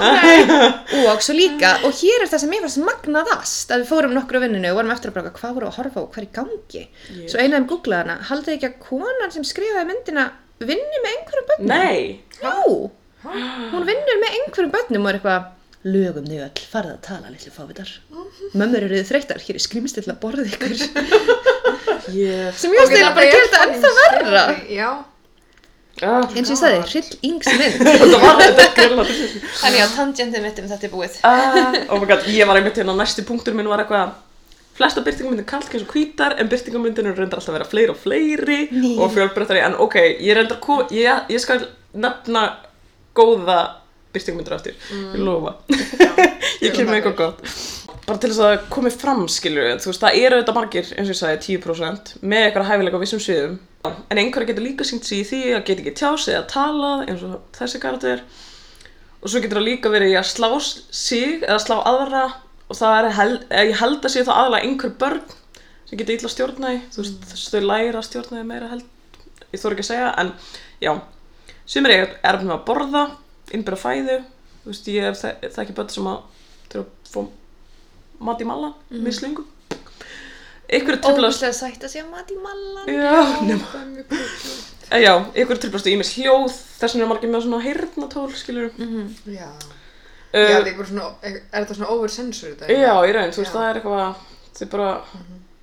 S1: Nei. og svo líka og hér er það sem ég fannst magnaðast að við fórum nokkru á vinninu og vorum eftir að braka hvað voru að horfa og hvað er í gangi svo eina þeim googlaði hana, haldið ekki að konan sem skrifaði myndina vinni með einhverjum börnum
S3: Nei.
S1: Já, hún vinnur með einhverjum börnum og er eitthvað lögum þau öll, farið að tala litlu fávitar mömmur eru þið þreyttar, hér er skrimstill að borða ykkur
S3: Yes.
S1: sem ég
S2: Ok,
S1: ástæðilega bara
S2: er
S1: að gera þetta ennþá
S2: fucking
S1: verra
S2: scary, Já.
S3: Ah.
S1: eins og ég sagði, hrill yngsmynd
S3: Þetta var þetta grilla.
S1: þannig að tangentið mitt um þetta er búið
S3: Ah, oh my god, ég var einmitt hérna, næsti punktur minn var eitthvað flesta byrtingamyndir kallt eins og hvítar en byrtingamyndir eru reyndar alltaf að vera fleiri og fleiri
S1: Ný.
S3: og fjölbreyttari, en ok, ég reyndar ko- ég, ég skal nefna góða byrtingamyndir aftur, ég lofa ég kem með eitthvað gott bara til þess að komi fram, skilju þú veist, það eru þetta margir, eins og ég sagði, 10% með eitthvað hæfilega á vissum sviðum en einhverja getur líka sínt sig í því að geta ekki tjásið eða talað, eins og þessi karakter og svo getur það líka verið í að slá sig eða slá aðra og það er, hel, eða ég held að sé þá aðalega einhver börn sem getur illa stjórnaði þú veist, þess að þau læra að stjórnaði meira held ég þóra ekki að segja, en já sumir er erfnum með að borða innbyrða fæðu, þú veist, ég hef þe- þekki börn sem að þurfa að fá mat í malla, mm. mislingum einhver er tröflast
S1: ógustlega sætt að sé að mati mallan
S3: já, nema
S2: Það er mjög cool.
S3: Eh, já, einhver er tröflast í ímis hljóð þess vegna er margir með svona heyrnatól, skilur
S2: Já.
S3: uh,
S2: Já, það er bara svona, er þetta svona oversensor þetta?
S3: Já, í raun, þú veist,
S2: Já.
S3: það er eitthvað, þið bara,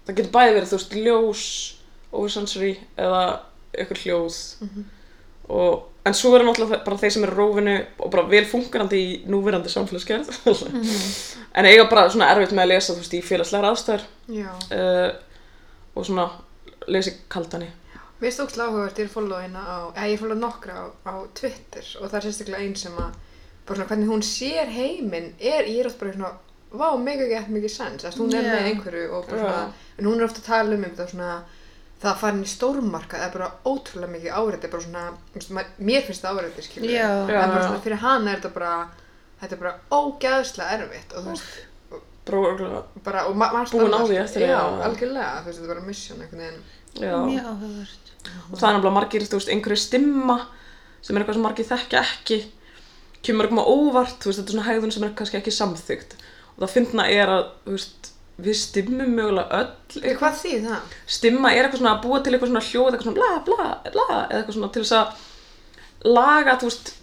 S3: það getur bæði verið, þú veist, ljós, oversensory eða eitthvað hljóð og, en svo verður náttúrulega þe- bara þeir sem eru rófinu og bara vel fungerandi í núverandi samfélagsgerð en eiga bara svona erfitt með að lesa, þú veist, í félagslegar aðstæður
S2: Já.
S3: uh, og svona lesi kaldani
S2: Mér finnst ógst áhugavert, ég er follow hérna á, eða ég er follow nokkra á, á Twitter og það er sérstaklega einn sem að, bara svona hvernig hún sér heiminn, er, ég er oft bara svona, vá, mega gett mikið sens, að hún er
S1: Já.
S2: með einhverju og bara
S3: Já.
S2: svona, en hún er ofta að tala um einhverja svona, það að fara inn í stórmarkað er bara ótrúlega mikið áreiti bara svona, þú veist, maður- mér finnst það áreiti skilur
S1: Já.
S2: en
S3: Já,
S2: bara
S3: já.
S2: svona fyrir hana er þetta bara þetta er bara ógæðslega erfitt og þú veist,
S3: Bróðurlega.
S2: bara, og ma maður
S3: Búin
S2: standar-
S3: á því eftir,
S2: já,
S3: já.
S2: algjörlega, þú veist, þetta er bara mission einhvern veginn
S3: Já.
S1: Mjög áhugavert.
S3: Og það er náttúrulega margir, þú veist, einhverju stimma sem er eitthvað sem margir þekkja ekki. Kemur eitthvað óvart, þú veist, þetta er svona hegðun sem er kannski ekki samþygt. Og það fyndna er að, þú veist, við stimmum mögulega öll
S2: Veitu hvað því það?
S3: stimma er eitthvað svona að búa til eitthvað svona hljóð eitthvað svona bla bla bla eða eitthvað svona til þess að laga þú veist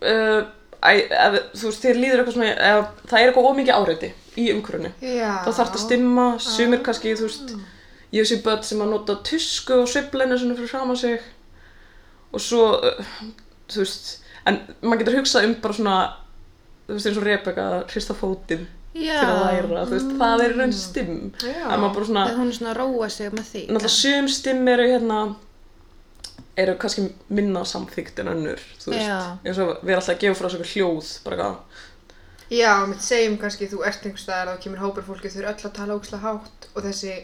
S3: uh, æ, ef, þú veist þér líður eitthvað svona ef, það er eitthvað ómikið áreiti í umhverfinu
S2: Já.
S3: þá þarf það að stimma, sumir kannski þú veist ég sé börn sem að nota tusku og sveifleinu svona fyrir fram að sig og svo uh, þú veist en maður getur hugsað um bara svona þú veist eins og Rebecca að hrista fótinn
S1: Já.
S3: til að læra, þú veist, það er í raun stimm
S2: Já.
S3: en maður bara svona
S1: Að hún er svona að róa sig með því.
S3: náttúrulega sum stimm eru hérna eru kannski minna samþygt en önnur þú veist,
S1: Já.
S3: eins og við erum alltaf að gefa frá okkur hljóð bara eitthvað,
S2: Já, mitt segjum kannski þú ert einhvers staðar þá kemur hópur fólki þau eru öll að tala ógslag hátt og þessi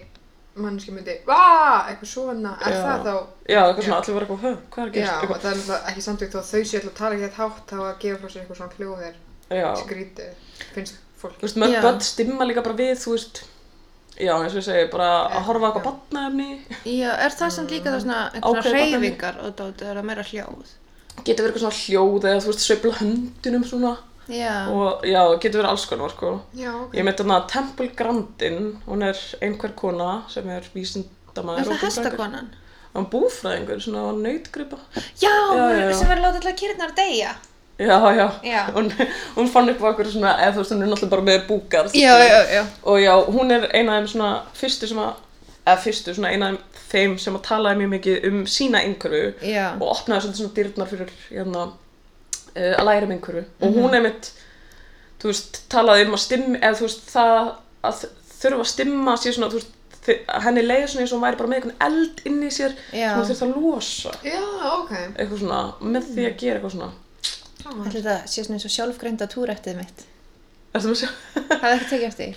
S2: mannski myndi vaaah, eitthvað svona, er
S3: Já.
S2: það þá
S3: já, eitthvað svona, allir voru eitthvað, "Huh, hvað er
S2: Já,
S3: að gerast
S2: og
S3: eitthvað,
S2: það er náttúrulega ekki samtökt þó að þau séu alltaf að tala ekki þetta hátt þá að gefa frá sér eitthvað svona hljóð er
S3: já,
S2: skrítið, finnst
S3: þú
S2: fólk.
S3: veist, mörg
S1: Já.
S3: börn stimma líka bara við, þú veist já, eins og ég segi, bara að horfa á
S2: Já.
S3: eitthvað batnaefni,
S1: Já, er það samt líka það svona einhverja
S3: Ákveðið barnið.
S1: hreyfingar og dótið er það meira hljóð?
S3: getur verið eitthvað svona hljóð eða þú veist, sveifla höndunum svona
S1: Já.
S3: og já, getur verið alls konar, sko
S2: Já, ok.
S3: ég meit þarna að Temple Grandin hún er einhver kona sem er vísindamaður
S1: er
S3: og
S1: það
S3: búfræðingur.
S1: hestakonan?
S3: hann búfræðingur, svona nautgripa
S1: Já,
S3: Já, já,
S1: hún
S3: já.
S1: sem var að láta allar kýrnar deyja.
S3: Já, já,
S1: Já.
S3: Hún, hún fann upp á okkur svona, eða þú veist, hún er náttúrulega bara með búkar
S1: já.
S3: Og já, hún er eina af þeim svona fyrstu sem að, eða fyrstu svona eina af þeim sem að talaði mjög mikið um sína einhverju
S1: Já.
S3: Og opnaði svolítið svona dyrnar fyrir, hérna, uh, að læra um einhverju
S1: Mhm.
S3: Og hún einmitt, þú veist, talaði um að stimma, eða þú veist, það að þurfa að stimma sé svona, þú veist, þi- að henni leiði svona eins og hún væri bara með einhvern eld inn í sér
S1: Já.
S3: sem hún þurfti að losa
S2: Já, ok.
S3: eitthvað svona, með því
S1: Mhm.
S3: að gera eitthvað svona
S1: Ætli þetta sé svona eins og sjálfgreinda túrættið mitt.
S3: Ertu með að sjá,
S1: Það er ekki tekið eftir. því.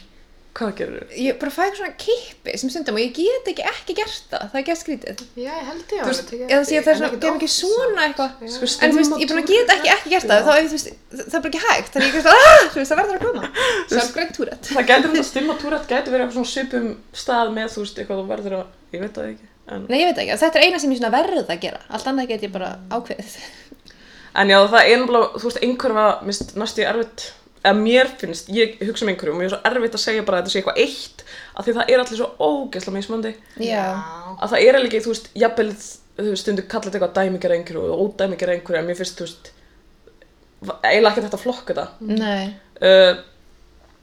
S3: hvað gerir
S1: Ég bara fæ eitthvað svona kippi sem stundum og ég get ekki ekki gert það. Það er gert skrítið.
S2: Já, ég held ég
S3: Þú
S2: að
S3: veist,
S2: það tekið
S1: Eða sé að það er
S2: en
S1: svona,
S2: ekkert
S1: gef ekki
S2: oft
S1: svona
S2: samt.
S1: eitthvað.
S2: Já.
S3: Sko,
S1: En þú veist, ég er búin að geta ekki ekki gert það. Þá, er, þú veist, það er bara ekki hægt. Þannig ég gert það, "Ah!" þú veist, það verður að koma. Sjálfgreind túrætt.
S3: Það gæti þetta stimma túrætt gæti verið eitthvað svona svipum stað með þú veist eitthvað þú verður að, ég veit það ekki en,
S1: Nei, ég veit ekki. Þetta er eina sem ég svona verð að gera. Allt annað get ég bara ákveðið.
S3: en já það er náttúrulega, þú veist einhverfa minnst næstu ég erfitt eða mér finnst, ég hugsa um einhverjum og ég er svo erfitt að segja bara að þetta sé eitthvað eitt af því það er allir svo ógeðslega mismandi
S1: Já.
S3: að það er alveg ekki, þú veist, jafnvel þú veist, stundu kalla þetta eitthvað dæmikera einhverju og ódæmikera einhverju en mér finnst, þú veist va- eiginlega ekki þetta flokk þetta
S1: Nei.
S3: uh,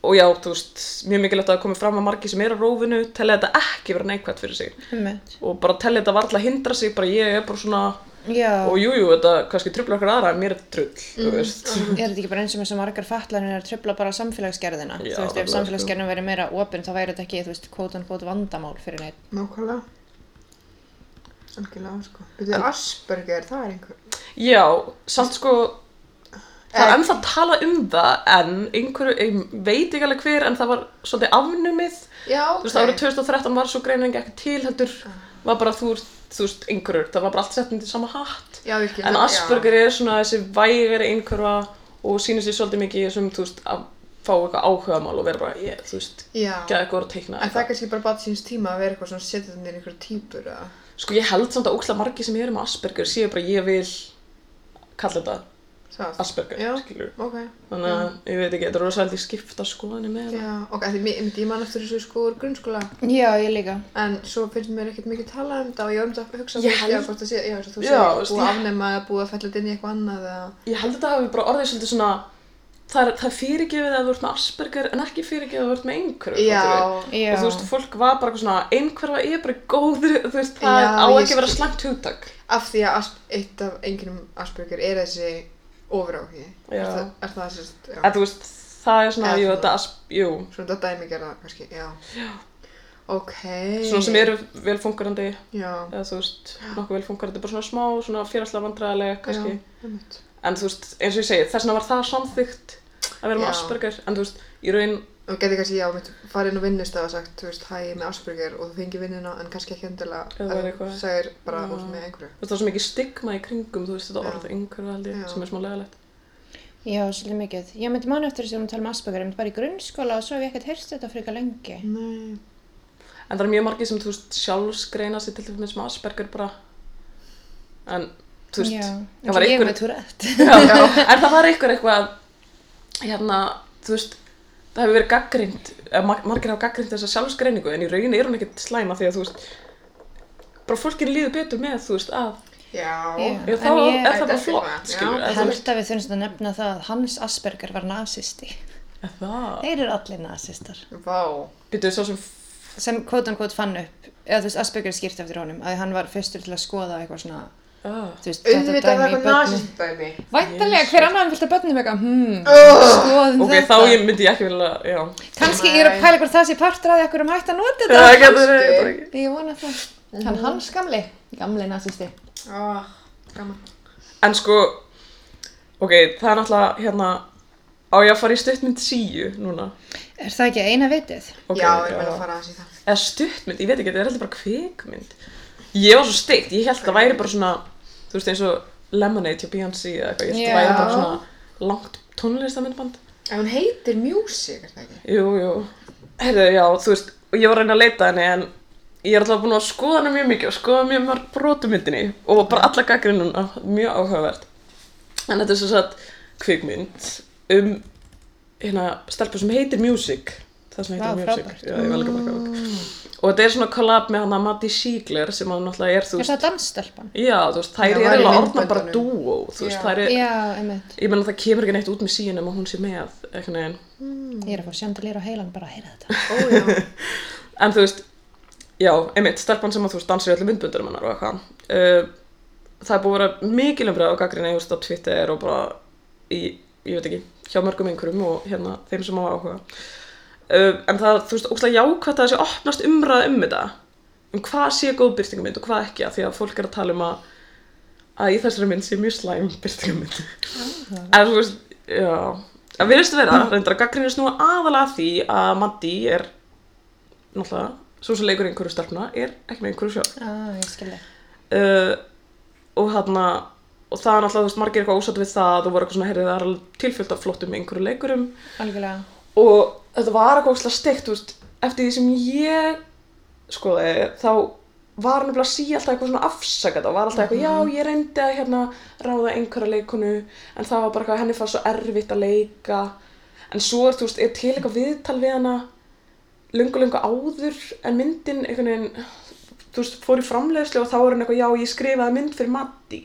S3: og já, þú veist, mjög mikilvægt að það komi fram að margi sem er á rófinu telja þetta ekki vera neikvægt fyrir sig
S1: Einmitt.
S3: og bara telli þetta varla hindra sig bara ég er bara svona
S1: Já.
S3: og jújú, jú, þetta kannski trubla okkur aðra en mér er þetta trull, þú
S2: Mm.
S3: veist
S1: Er þetta ekki bara eins og með sem margar fatlanir að tröfla bara samfélagsgerðina?
S3: Já,
S1: þú veist,
S3: nefnilega,
S1: ef
S3: sko.
S1: samfélagsgerðin verið meira opinn þá væri þetta ekki, þú veist, kvót on kvót vandamál fyrir neitt.
S2: Nákvæmlega. Algjörlega, sko. Þú veit, Asperger, það er einhver.
S3: já, samt sko það er
S2: En-
S3: ennþá tala um það en einhverju, ég veit ekki alveg hver en það var svolítið afnumið
S2: Já, ok.
S3: þú veist, árið 2013 var svo greining ekki til heldur, var bara þú ert- þú veist, einhverjur, það var bara allt sett undir sama hatt
S2: Já, virkilega.
S3: en
S2: já.
S3: Asperger er svona þessi vægari einhverfa og sýnir sér svolítið mikið í þessum, þú veist, að fá eitthvað áhugamál og vera bara, ég, þú veist,
S2: Já.
S3: geða eitthvað að teikna
S2: En það er kannski bara bara síns tíma að vera eitthvað svona setja þannig einhverja típur eða.
S3: Sko ég held samt að ókslega margi sem eru með Asperger séu bara ég vil kalla þetta
S2: Það.
S3: Asperger,
S2: Já.
S3: skilur.
S2: Ok.
S3: Þannig að ég veit ekki, þetta er rosalega skipta skoðanir með það.
S2: Mm. Já, ok. Því, mér, ég man eftir þessu sko úr grunnskóla.
S1: Já, ég líka.
S2: En svo finnst mér ekkert mikið talað um þetta og ég var um þetta að hugsa þú
S3: Ég
S2: veist,
S3: held-
S2: já, hvort það sé, já, eins og þú
S3: Já,
S2: segir,
S3: veist,
S2: búið að
S3: ég-
S2: afnema eða búið að fella þetta inn í eitthvað annað eða...
S3: Ég held að þetta hafi bara orðið svolítið svona, það er, það er fyrirgefið að þú ert með Asperger en ekki fyrirgefið að þú ert með einhverju. fattarðu?
S2: Já,
S1: Já.
S3: Og þú veist, fólk var bara eitthvað svona, einhverfa er bara góður, þú veist, það
S2: Já,
S3: á
S2: ég
S3: ekki að vera
S2: skil.
S3: slæmt hugtak.
S2: af því að asp, eitt af enginum Asperger er þessi ofráki.
S3: Já.
S2: Er það, er það sérst, já.
S3: En þú veist, það er svona,
S2: Eða
S3: jú,
S2: svona-
S3: þetta asp, jú,
S2: Svona þetta dæmigerða, kannski, já. Já. Ok.
S3: svona sem eru velfungarandi,
S2: Já.
S3: eða þú veist, nokkuð velfungarandi, bara svona smá, svona félagslega vandræðilega, kannski.
S2: Já, einmitt.
S3: en þú veist, eins og ég segi, þess vegna var það samþygt að vera með
S2: Já.
S3: Asperger en þú veist, í raun
S2: og geti kannski, já, mitt farið inn á vinnustaf og sagt, þú veist, hæ, ég er með Asperger og þú fengi vinnuna en kannski ekki endilega
S3: Ef það er
S2: ef þú
S3: eitthvað.
S2: segir bara
S3: Já.
S2: út með einhverju.
S3: Þú veist, það er svo mikið stigma í kringum, þú veist, þetta
S2: Já.
S3: orð einhverju held ég,
S2: Já.
S3: sem er smá legalegt.
S1: Já, svolítið mikið. Ég myndi manna eftir þess að við erum að tala um Asperger, ég myndi bara í grunnskóla og svo hef ég ekkert heyrst þetta frekar lengi.
S2: Nei.
S3: En það er mjög margið sem, þú veist, sjálfsgreina sér til dæmis með Asperger bara. En, þú veist,
S1: Já,
S3: það
S1: eins og
S3: var
S1: ég
S3: einhver...
S1: með Tourette.
S3: Já, en það var einhver eitthvað, hérna, þú veist, það hefur verið gaggrind, margir hafa gaggrind þessa sjálfsgreiningu, en í rauninni er hún ekkert slæma því að, þú veist, bara fólkinu líður betur með, þú veist, að,
S2: Já.
S1: Já.
S3: já, þá
S1: En ég-
S3: er það
S2: Þetta
S3: bara
S2: er
S3: flott,
S2: bara-
S3: skilur,
S2: já.
S3: eða þú veist,
S1: Held að við þurfum að nefna það að hans Asperger var nazisti.
S3: eða það,
S1: Þeir eru allir nazistar.
S2: Vá.
S3: byrjuðu svo sem,
S1: Sem kvotan kvot fann upp, eða þú veist Asperger er skýrt eftir honum, að hann var fyrstur til að skoða eitthvað svona,
S3: að,
S1: þú veist,
S2: Auðvitað það er eitthvað
S1: börnum.
S2: nazist dæmi.
S1: Væntanlega, hver annar fylgta börnum eitthvað, hmm,
S2: Ugh.
S1: skoðum
S3: ok, þá
S1: þetta.
S3: ég myndi ég ekki vilja, já.
S1: Kanski ég er að
S2: Nei.
S1: pæla hvort það sé partur að því að hverjum hægt að nota
S3: Já,
S1: þetta.
S3: það getur verið, ég veit það ekki.
S1: Ég vona það. Mhm. Hann hans gamli, gamli nazisti.
S2: Ah, gaman.
S3: En sko, ok, það er náttúrulega, hérna, á ég að fara í stuttmynd síu núna.
S1: Er það ekki eina vitið?
S3: Ok,
S2: já, ég meina að fara aðeins í það.
S3: Eða stuttmynd, ég veit ekki, það er alltaf bara kvikmynd. Ég var svo steikt, ég held það væri bara svona, þú veist eins og Lemonade hjá Beyoncé eða eitthvað, ég held
S1: Já.
S3: það væri bara svona langt tónlistamindband.
S2: En hún heitir Music, er það ekki?
S3: Jú, jú. Heyrðu, já, þú veist, og ég var að reyna að leita henni en ég er alltaf búin að skoða henni mjög mikið og skoða mjög mörg brotumyndinni og bara alla gaggrinuna, mjög áhugavert. En þetta er svo satt kvikmynd um hérna stelpu sem heitir Music. Það sem heitir
S1: Vá,
S3: Music.
S1: frábært.
S3: Já, ég var líka bara gáð.
S2: Mm.
S3: Og þetta er svona collab með hana Matti Siegler sem hann náttúrulega er, þú
S1: Er
S3: veist,
S1: það dansstelpan?
S3: já, þú veist, þær
S2: Já,
S3: eru
S2: var í
S3: eiginlega orðna bara
S2: myndböndunum.
S3: dúó, þú veist,
S2: Já.
S3: þær eru,
S1: Já, einmitt.
S3: ég menna það kemur ekki neitt út með síðan um að hún sé með, eitthvað neginn.
S1: Ég er að fá sjandalir á heilan bara að heyra þetta.
S2: Ó, já.
S3: En þú veist, já, einmitt, stelpan sem að þú veist dansir í öllum myndböndurum hennar og eitthvað. Uh, það er búið að vera mikil umræða á gaggrinni, þú veist, á Twitter og bara í, ég veit ekki, hjá mörgum einhverjum og hérna þeim sem á áhuga. Uh, en það, þú veist, ógstlega jákvæmt að þessi opnast umræða um þetta, um hvað sé góð byrtingamynd og hvað ekki, af því að fólk er að tala um að, að í þessari mynd sé mjög slæm byrtingamynd. en þú veist, já, að virðist vera, reyndar að gaggrinni snúa aðalega að því að Maddi er náttúrulega, svo sem leikur einhverju stelpna er ekki með einhverju sjálf
S1: Ah, ég skilði.
S3: uh, og þarna og það er náttúrulega, þú veist, margir eitthvað ósatt við það og voru eitthvað svona, heyrðið, það er alveg tilfyllt af flottum einhverju leikurum
S1: Algjörlega.
S3: og þetta var eitthvað óslega steikt, þú veist eftir því sem ég skoði, þá var nefnilega sí alltaf eitthvað svona afsakað og var alltaf eitthvað, já, ég reyndi að hérna ráða einhverja leikonu, en það var bara eitthvað henni fannst svo erfitt að leika en svo er, þú veist, er til eitthvað viðtal við hana lungu, lungu áður en myndin, einhvern veginn þú veist, fór í framleiðslu og þá er hann eitthvað, já, ég skrifaði mynd fyrir Matti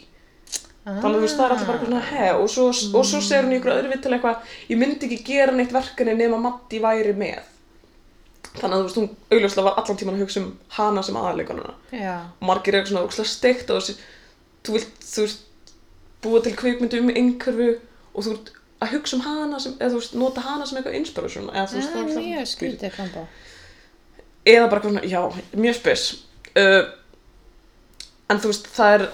S3: þannig að þú veist, það er alltaf bara eitthvað svona he og svo, og svo segir hún í ykkur öðru viðtal eitthvað ég myndi ekki gera neitt verkefni nema Matti væri með þannig að þú veist, hún augljóslega var allan tíman að hugsa um hana sem aðleikonuna
S1: Já.
S3: og margir eru svona ógslag steikt og þessi, þú vilt, þú veist búa til kvikmyndu um einhverfu og þú ert að hugsa um hana sem, eða þú veist, nota hana sem eitthvað inspiration eða þú veist,
S1: Það er
S3: alltaf-
S1: mjög Ah, skrítið kombo.
S3: eða bara eitthvað svona, já, mjög spes uh, en þú veist, það er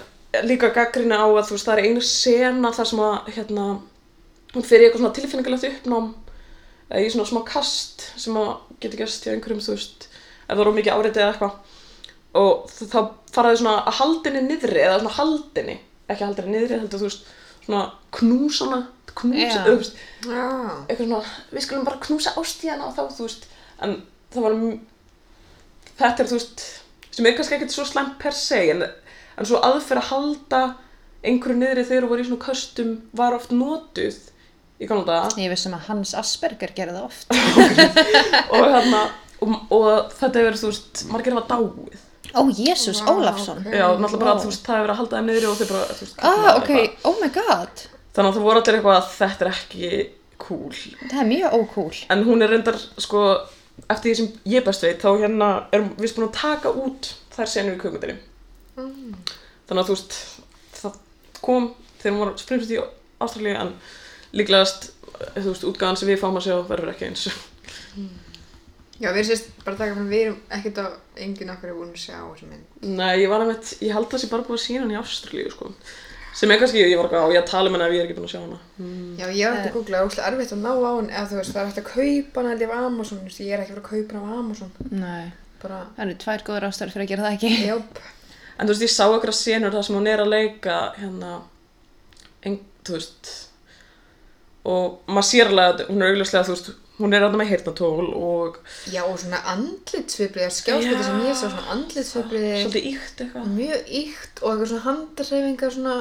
S3: líka gaggrinni á að þú veist, það er einu sena þar sem að hérna, hún fyrir eitthvað svona tilfinningalegt uppnám eða í svona smá kast sem að geta gæst hjá einhverjum, þú veist ef það eru mikið áreitið eða eitthvað og þ- þá faraði svona að haldinni niðri eða svona haldinni, ekki haldinni niðri heldur þú veist, svona knúsana knúsa,
S1: Já.
S3: þú veist,
S2: Já.
S3: eitthvað svona, við skulum bara knúsa ástíðana og þá, þú veist, en það var, m- þetta er, þú veist, sem er kannski ekkert svo slæmt per se, en, en svo aðferð að halda einhverju niðri þegar þú voru í svona köstum var oft notuð í gamla daga
S1: Ég vissum að hans Asperger gerði það oft.
S3: og hérna, og, og þetta hefur, verið, þú veist, margir hafa dáið.
S1: Ó, Jésús
S2: Vá,
S1: Ólafsson.
S2: ok.
S3: Já, náttúrulega bara,
S1: Mm, Vá.
S3: þú veist, það hefur verið að halda þeim niðri og þeir bara, þú veist,
S1: Ah,
S3: kafnaði
S1: ok.
S3: eitthvað.
S1: Oh my god.
S3: Þannig að það voru allir eitthvað að þetta er ekki cool
S1: Það er mjög ókúl.
S3: en hún er reyndar sko eftir því sem ég best veit þá hérna erum við búin að taka út þær senu í kökmyndinni þannig að þú veist það kom þegar hún var sprimst í Ástralíu en líklegast eh, þú veist útgáðan sem við fáum að sjá verður ekki eins
S2: Já, við erum sérst bara að taka fram, við erum ekkert á enginn okkar er búin að sjá þessu mynd.
S3: Nei, ég var að veit, ég held að það sé bara búið að sína hann í Ástralíu sko sem er kannski, ég var ekki á, ég að tala með hana ef ég er ekki búin að sjá hana
S2: Já, ég var hægt að googla, það er óslega erfitt að ná á hún eða þú veist, það er hægt að kaupa hana held ég af Amazon, þú veist, ég er ekki að fara að kaupa hana af Amazon
S1: Nei.
S2: bara,
S1: Það eru tvær góður ástæður fyrir að gera það ekki.
S2: jáp
S3: en þú veist, ég sá okkur að senur þar sem hún er að leika hérna en, þú veist og maður sér alveg að hún er augljóslega, þú veist, hún er alltaf með heyrnatól og
S2: Já, og svona andlitsvibrið, skjáspiti
S3: Já.
S2: sem ég sá, svona andlitsvibrið
S3: svolítið íkt eitthvað
S2: mjög ykt og eitthvað svona handarreifingar svona,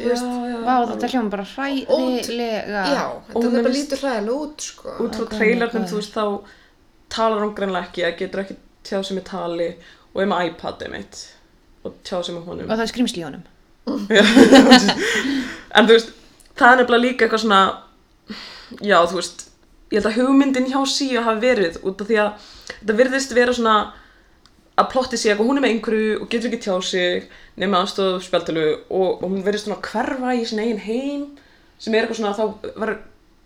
S2: þú
S3: Já,
S2: veist,
S3: já,
S1: Vá, þetta hljóma bara hræðilega.
S2: já,
S3: Og
S2: þetta
S3: hún er
S2: er bara
S3: víst-
S2: lítur hræðilega út, sko
S3: út frá
S1: Ákveðin
S3: trailernum,
S1: leikmaður.
S3: þú veist, þá talar hún greinlega ekki, að getur ekki tjáð sem ég tali og er með iPadið mitt og tjáð sem er honum
S1: Og það er skrimsli í honum.
S3: en þú veist, það er nefnilega líka eitthvað svona já, þú veist ég held að hugmyndin hjá síu hafi verið út af því að þetta virðist vera svona að plotti sig eitthvað, hún er með einhverju og getur ekki tjáð sig nema aðstof spjaldilu og, og hún verðist svona að hverfa í sin eigin heim sem er eitthvað svona að þá var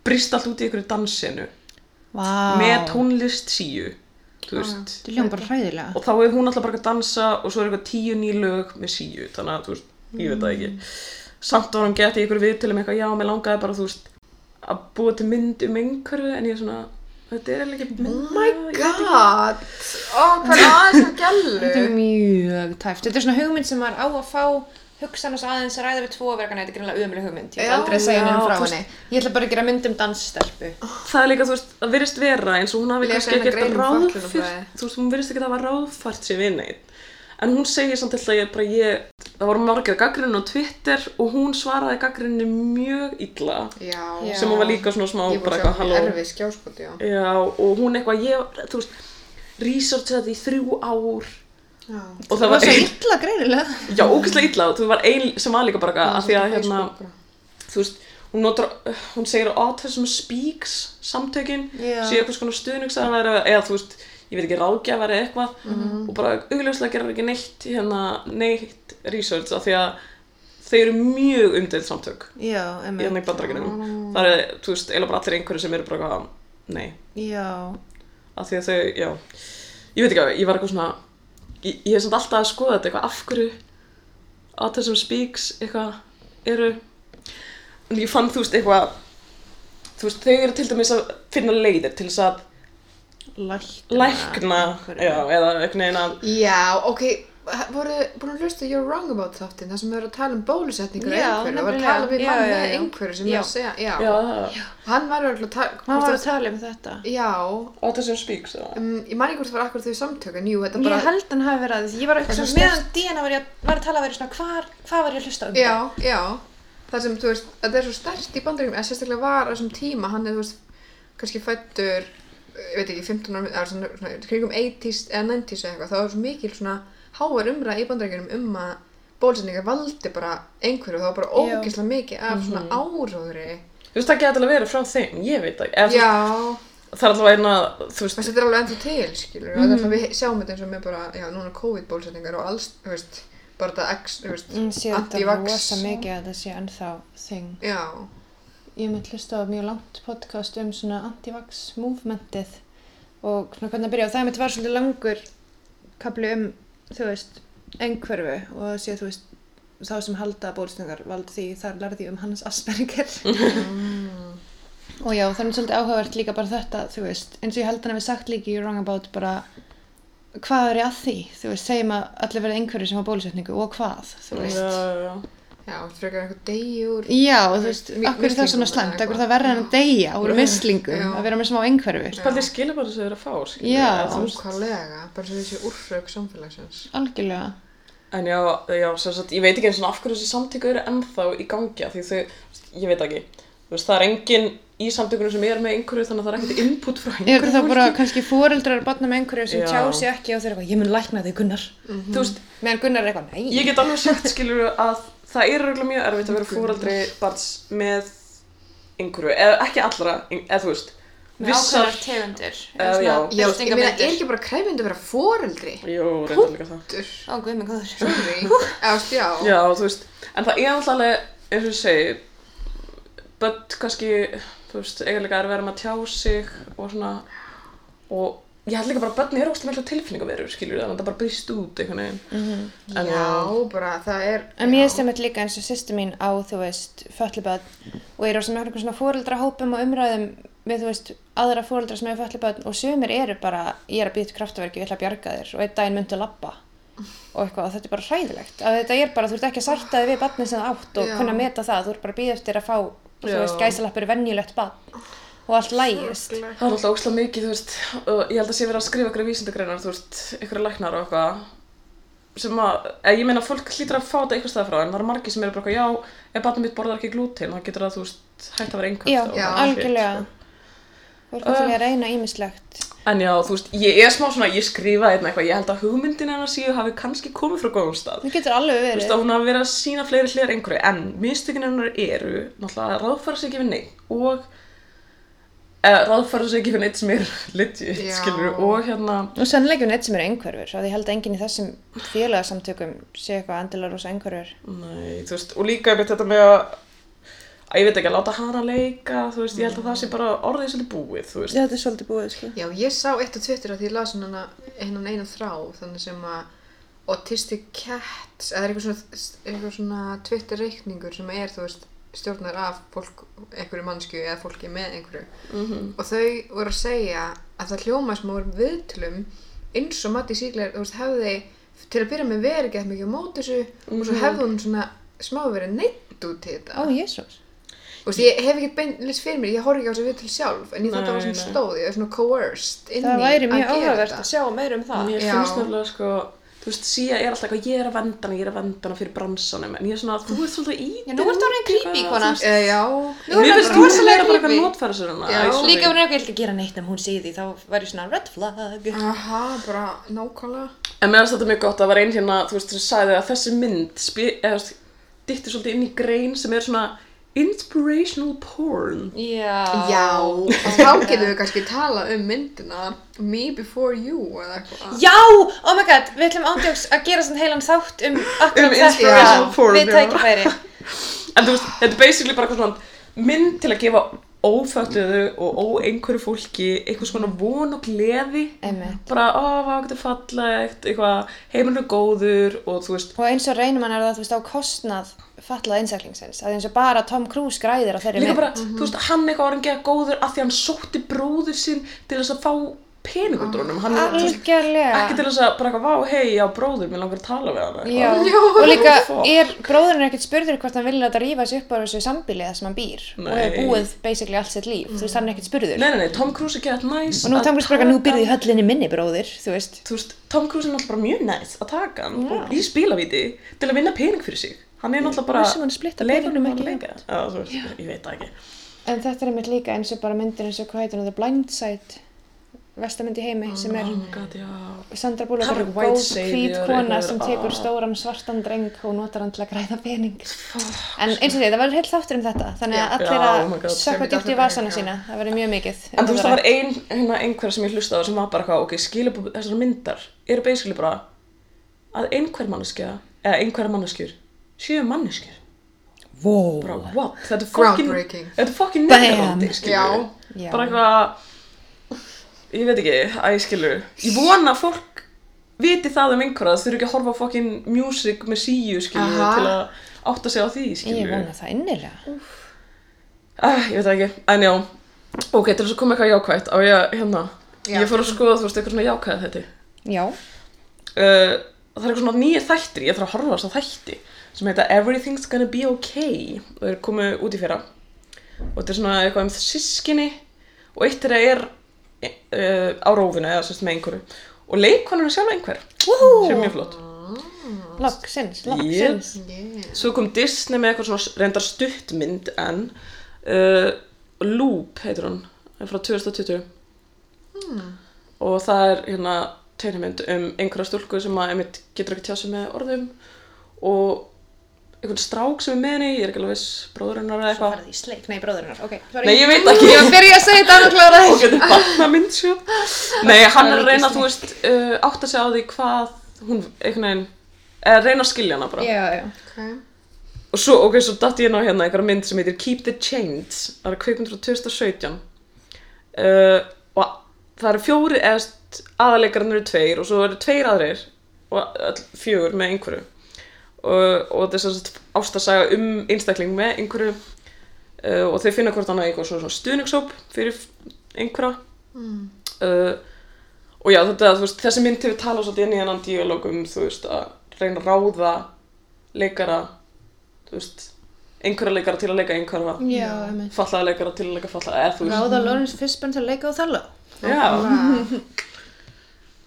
S3: brist allt út í einhverju dansinu
S1: Vá.
S3: með tónlist síu þú veist
S1: Þetta hljóma bara hræðilega.
S3: og þá er hún alltaf bara að dansa og svo er eitthvað tíu ný lög með síu þannig að þú veist, ég veit það
S2: Mm.
S3: ekki samt var hún gett í ykkur viðtölu með eitthvað já, mér langaði bara þú veist að búa til mynd um einhverju en ég er svona, þetta er eiginlega ekki
S2: Oh
S3: mynd
S2: my god, ó, hvað er aðeins að
S1: Þetta er
S2: gælu
S1: mjög tæft. Þetta er svona hugmynd sem maður á að fá hugsanast aðeins að ræða við tvo verkan. Þetta er greinlega uðmjölu hugmynd. Ég
S2: Já,
S1: ætla aldrei að segja
S2: já,
S1: nefnum frá
S2: þú veist-
S1: henni. Ég ætla bara að gera mynd um dansstelpu.
S3: það er líka, þú veist, að virðist vera eins og hún hafi
S2: Lesa
S3: kannski
S2: eina
S3: ekki
S2: grein
S3: eitthvað
S2: um
S3: ráðfyrt
S2: fötlunarfræði.
S3: þú veist, hún virðist ekki að hafa ráðfært sér við neitt en hún segir samt alltaf ég bara ég það voru margir gaggrinu á Twitter og hún svaraði gaggrinu mjög illa
S2: Já,
S1: Já.
S3: sem hún var líka svona smá
S2: ég
S3: bara
S2: búið að
S3: eitthvað
S2: sjá
S3: halló
S2: erfið skjáspiti, já
S3: Já, og hún eitthvað, ég, þú veist, researcha þetta í þrjú ár
S2: Já,
S3: og það
S1: Það var
S3: var
S1: svo
S3: ein,
S1: illa greinilega.
S3: já, ógæslega illa, þú var ein sem var líka bara eitthvað, af því að, hérna,
S2: Facebook bara.
S3: þú veist, hún notar, hún segir að autism speaks samtökin,
S1: Já.
S3: sé eitthvað svona stuðningsaðanæri eða, þú veist, ég veit ekki, ráðgjafari eða eitthvað
S1: Mhm.
S3: og bara augljóslega gerir ekki neitt, hérna, neitt research af því að þau eru mjög umdeild samtök
S1: Já,
S3: í
S1: emmi.
S3: hérna í
S1: Mm.
S3: bandarækjunum. Það er, þú veist, eiginlega bara allir einhverju sem eru bara eitthvað, nei,
S1: Já.
S3: af því að þau, já ég veit ekki að ég var eitthvað svona ég, ég hef samt alltaf að skoða þetta eitthvað af hverju að þessum speaks eitthvað eru en ég fann þú veist eitthvað þú veist þau eru til dæmis að finna leiðir til þess að
S1: Lækna.
S3: lækna
S1: einhverju.
S3: já, eða einhvern veginn að
S2: Já, ok, ha- voru búin að hlusta You're Wrong About þáttinn, þar sem við vorum að tala um bólusetningur
S1: Já,
S2: einhverju, það var að
S1: nefnilega.
S2: tala við
S1: Já,
S2: mann
S1: já,
S2: með
S1: já.
S2: einhverju sem
S1: Já.
S2: er að segja, já,
S3: já, já.
S2: hann var örugglega að tala,
S1: Hann
S2: hvort
S1: var
S2: það-
S1: að tala um þetta.
S2: já,
S3: að þessum speaks eða
S2: um, ég man ekki hvort það var akkur þau samtökin, jú, þetta
S1: Ég
S2: bara,
S1: held hann hafi verið að því, ég var
S2: Það
S1: eitthvað
S2: er
S1: svona,
S2: svo
S1: meðan Díana var, ég að- var að tala að vera svona, hvar, hvað var ég að hlusta um
S2: já, já, þar sem, þú veist, þetta er svo stert í bandaríkjum, eða sérstaklega var á þessum tíma, hann er, þú veist, kannski fættur, ég veit ekki, 15 ára, eða svona, svona, kringum 80s eða 90s eða eitthvað, þá var svo mikil svona háar umræð í bandaríkjunum um að bólusetningar valdi bara einhverju, það var bara
S1: Já. Mhm.
S2: ógeðslega mikið af svona áróðri.
S3: þú veist það geta alveg verið frá þeim, ég veit það ekki
S2: Já,
S3: það er allavega eina, þú veist
S2: veist, þetta er alveg ennþá til, skilur, mm.
S1: Mhm.
S2: þannig að við sjáum þetta eins og með bara, já, núna COVID-bólsetningar og alls, þú veist, bara þetta X, þú veist,
S1: Ég sé þetta
S2: anti-vax.
S1: rosa mikið að það sé ennþá þing.
S2: Já,
S1: Ég mynd hlusta á mjög langt podcast um svona anti-vax movementið og svona hvernig að byrja og það mitt var svolítið langur kapli um, þú veist, einhverfu og það sé, þú veist, þá sem halda bólstungar vald því, þar lærði ég um Hannes Asperger.
S2: Mhm.
S1: og já, það er mér svolítið áhugavert líka bara þetta, þú veist, eins og ég held hann hefur sagt líka í Wrong About bara hvað er ég að því, þú veist, segjum að allir verið einhverju sem á bólusetningu og hvað, þú
S3: já,
S1: veist.
S3: já, já.
S2: já, þú frekar einhver degjur.
S1: Já, þú veist,
S2: Mi-
S1: akkur er það svona
S2: mislingum
S1: slæmt,
S2: eða
S1: akkur er það verra en að deyja úr
S2: Já.
S1: mislingum, að vera með smá einhverfu.
S3: Spaldið skilur bara þess að vera að fá skilur,
S1: Já.
S3: eða, þú veist.
S2: Ákvarlega, bara svo þessi úrfrög samfélagsins.
S1: Algjörlega.
S3: En já, já sem sagt, ég veit ekki eins og af hverju þessi samtöku eru ennþá í gangi af því þau, ég veit ekki þú veist, það er enginn í samtökunum sem er með einhverju þannig að það er ekkert input frá
S1: Er
S3: einhverju
S1: það bara kannski foreldrar barna með einhverju sem
S3: Já.
S1: tjá sig ekki og þeir eru eitthvað, ég mun lækna þig Gunnar.
S3: þú veist,
S1: Meðan Gunnar er eitthvað, nei.
S3: ég get alveg sagt skilur að það er auðvitað mjög erfitt að vera fóraldri barns með einhverju, eða ekki allra eða þú veist, vissar
S1: tegundur.
S3: eða já,
S2: Já, ég meina, er ekki bara kræfindi að vera foreldri?
S3: jú, reyndar líka það
S2: Dur,
S1: Ó, guð minn góður.
S2: sorry, eða, þú veist, já.
S3: Já, þú veist, en það er alltaf alveg, eins og ég segi, börn kannski, þú veist, eiginlega er verið með að tjá sig og svona, og ég held líka bara að börn eru óslega miklu tilfinningaverur, skilur þannig að það bara brýst út einhvern veginn.
S1: Mhm.
S3: -hmm. En já,
S2: Já, bara það er
S1: En mér finnst einmitt líka eins og sýstu mín á, þú veist, fölliböð og ég er á sem eitthvað svona fóreldrahópum og umræðum við, þú veist, aðra fóreldra sem hefur fölliböð og sömur eru bara, ég er að býta kraftaverki og ég ætla að bjarga þér og einn daginn myndi að labba og eitthvað og þetta er bara hræðilegt að þetta er bara, þú ert ekki að sætta þig við barnið sem þú átt og
S2: Já.
S1: kunna meta það, þú ert bara að býða eftir að fá, þú
S3: Já.
S1: veist, gæsalappur er venjulegt barn og allt lægist
S2: Sorglegt.
S3: það er alltaf óslega mikið, þú veist, og ég held að sé verið að skrifa ykkur vísindagreinar, þú veist, ykkur læknar og eitthvað, sem að, eða ég meina fólk hlýtur að fá þetta eitthvað staðar frá, en það eru margir sem eru bara eitthvað, já, ef barnum mitt borðar ekki glútin, þá getur það, þú veist, hægt að vera einhvert.
S1: Já,
S2: Já,
S3: sko.
S1: algjörlega Þú ert náttúrulega að reyna ímislegt
S3: En já, þú veist, ég er smá svona, ég skrifaði hérna eitthvað, ég held að hugmyndin hennar síðu hafi kannski komið frá góðum stað.
S1: Það getur alveg
S3: Þú
S1: verið
S3: veist að hún hafi verið að sína fleiri hliðar einhverju, en mistökin hennar eru náttúrulega að ráðfæra sig ekki við neitt og eða ráðfæra sig ekki við neitt sem er legit,
S2: Já.
S3: skilur, og hérna,
S1: Og sannleikjum neitt sem eru einhverfur, af því ég held að enginn í þessum félagasamtökum sé eitthvað endilega rosa einhverfur.
S3: nei, þú veist, og líka einmitt þetta með að, að ég veit ekki að láta hana leika, þú veist, ég held að það sé bara orðið svolítið búið, þú veist.
S1: þetta er svolítið búið, sko.
S2: Já, ég sá eitt á Twitter að því ég las hennan hennan eina þrá, þannig sem að autistic cats, eða er eitthvað svona, eitthvað svona Twitter reikningur sem er, þú veist, stjórnar af fólk, einhverju mannsku eða fólki með einhverju. -hmm.
S3: Mhm.
S2: Og þau voru að segja að það hljóma sem voru viðtlum eins og Matti Síkler, þú veist, hefði til að byrja með verið gett mikið á móti þessu og
S1: Mhm.
S2: svo hefði hún svona smá verið neitt út í þetta.
S1: Ó, jésús.
S2: Þú veist, ég hef ekki beinlis fyrir mér, ég horf ekki á þessu viðtöl sjálf, en ég þátt að það var sem
S3: Nei, nei.
S2: stóð, ég er svona coerced inn í
S1: Það væri
S2: að
S1: mjög
S2: gera
S1: áhugavert
S2: þetta.
S1: að sjá meira um það.
S3: Mér
S2: Já.
S3: finnst nefnilega, sko, þú veist, síja er alltaf eitthvað, ég er að venda hana, ég er að venda hana fyrir bransanum, en ég er svona, þú ert svolítið í
S1: Já, nú ertu orðin creepy, kona.
S2: Eh, já,
S1: Nú
S3: Mér
S1: er
S3: finnst
S1: það
S3: hún
S1: rosalega
S3: vera bara eitthvað
S2: creepy.
S3: notfæra sér hana.
S2: Já.
S3: Æ, sorry.
S1: Líka ef hún er eitthvað ekki að gera neitt en hún sé því, þá væri svona red flag.
S2: aha, bara nákvæmlega.
S3: En mér finnst þetta mjög gott að það var einn hérna, þú veist, sem sagði að þessi mynd spi, eða, þú veist, dytti svolítið inn í grein sem er svona inspirational porn.
S1: Já.
S2: Já, og þá getum við kannski tala um myndina Me Before You eða eitthvað.
S1: Já, oh my god, við ætlum ándjóks að gera svona heilan þátt um akkurat
S3: Um inspirational
S1: Já,
S3: porn,
S1: Við
S3: já.
S1: tækifæri.
S3: En þú veist, þetta er basically bara eitthvað svona mynd til að gefa ófættuðu og óeinhverju fólki einhvers konar von og gleði.
S1: Einmitt.
S3: Bara, ó, hvað þetta er fallegt, eitthvað, heimurinn er góður og þú veist,
S1: Og eins og reynum hann er það, þú veist, á kostnað fallað einsaklingsins. Það er eins og bara Tom Cruise græðir á þeirri
S3: Líka
S1: mynd.
S3: bara, þú veist, hann eitthvað var ekki að góður af því hann sótti bróður sinn til þess að fá peningundrónum. Hann er, þú veist,
S1: Mhm. Algjörlega.
S3: ekki til þess að bara eitthvað, vá, hei, já, bróður, mér langar að tala við hann eitthvað.
S1: Já,
S2: Já.
S1: og líka
S3: Fuck.
S1: er bróðurinn ekkert spurður hvort hann vil að rífa sig upp á þessu sambíli þar sem hann býr og hefur
S3: Nei.
S1: búið basically allt sitt líf, þú veist, hann er ekkert spurður
S3: Nei, nei, nei, Tom Cruise er ekki að næs
S1: og nú
S3: að
S1: tangur spurður að nú
S3: taka-
S1: býrði í höllinni minni bróðir, þú veist
S3: Þú veist, Tom Cruise er náttúrulega bara mjög næs að taka hann og í spilavíti til að vinna pening fyrir sig Hann er náttúrulega bara
S1: Vissum hann splitta
S3: leyfir
S1: peningnum
S3: honum að
S1: ekki
S3: leika. Já, þú veist, ég veit það ekki
S1: en þetta er einmitt líka eins og bara myndir eins og hvað heitir hún, The Blind Side vestamynd í heimi sem er
S3: Oh my god, já
S1: Sandra Bullock er
S3: Perfect White
S1: góð
S3: Savior,
S1: hvít kona
S3: eitthvað,
S1: sem tekur
S3: ah.
S1: stóran svartan dreng og notar hann til að græða pening en eins og því, það var heilt þáttur um þetta þannig að allir
S3: Já. Já, oh my
S1: að
S3: god.
S1: sökva
S2: Sem
S1: djúpt
S2: þetta
S1: í vasana
S2: er, já.
S1: sína það verður mjög mikið um
S3: En þú veist,
S1: verður-
S3: það var ein, hérna, einhver sem ég hlustaði á sem var bara eitthvað, ok, skilabúð þessar myndar eru basically bara að einhver manneskja, eða einhver manneskjur séu manneskjur
S1: Wow.
S3: Bara, what? Þetta er fokkin
S2: Groundbreaking.
S3: Þetta er fokkin
S1: Bam.
S3: nefnandi, skilur
S2: Já.
S1: Já.
S3: Bara eitthvað Ég veit ekki, að ég skilur Ég vona að fólk viti það um einhverja Það þurfi ekki að horfa á fokkin music með síu, skilur
S2: Aha.
S3: Til að átta sig á því, skilur
S1: ég vona það innilega
S3: Ah, ég veit það ekki, en já Ok, til þess að koma eitthvað jákvætt á ég, hérna
S2: Já.
S3: Ég fór að skoða, þú veist, eitthvað svona jákvæða þetta
S1: Já,
S3: uh, það er eitthvað svona nýjir þættir, ég þarf að horfa á þessa þætti sem heita Everything's Gonna Be Okay og þeir komu út í fyrra og þetta er svona eitthvað um sískinni og eitt þeirra er uh, á rófinu eða sérst með einhverju og leikkonan er sjálf einhver
S1: Woohoo!
S3: sem er mjög flott
S1: loksins,
S3: Yep.
S1: loksins
S2: Yeah.
S3: svo kom Disney með eitthvað svona reyndar stuttmynd en uh, Loop heitir hún er frá 2020
S1: Hmm.
S3: og það er hérna tegnmynd um einhverja stúlku sem að einmitt getur ekki tjá sig með orðum og einhvern strák sem er með henni, ég er ekki alveg viss bróðurinnar
S1: Svo
S3: eða eitthvað
S1: farið í sleik, nei bróðurinnar, ok, sorry
S3: Nei, ég veit ekki,
S1: Ég var að byrja að segja þetta annað klára
S3: og
S1: þess
S3: getur barna mynd sjó Nei, hann er að reyna,
S1: Disney.
S3: þú veist, uh, átta sig á því hvað hún einhvern veginn eða reyna að skilja hana bara
S1: Já, já,
S2: Okay.
S3: Og svo, ok, svo datt ég inn á hérna einhverja mynd sem heitir Keep the Chains, það er kvikmynd frá 2017. Uh, Eh, og það eru fjóri eðst aðalegarnir eru tveir og svo eru tveir aðrir og öll fjögur með einhverju og, og þess að ástasaga um einstakling með einhverju uh, og þeir finna hvort annað einhver svona svona stuðningshóp fyrir einhverja uh, og já þetta, þú veist, þessi mynd hefur talað svolítið inn í hennan díalóg um þú veist að reyna að ráða leikara þú veist, einhverja leikara til að leika einhverja
S1: Já, emmitt.
S3: fallaða leikara til að leika fallaða eða þú veist
S1: Ráða Lawrence Fishburne til að leika á Þalló.
S3: já.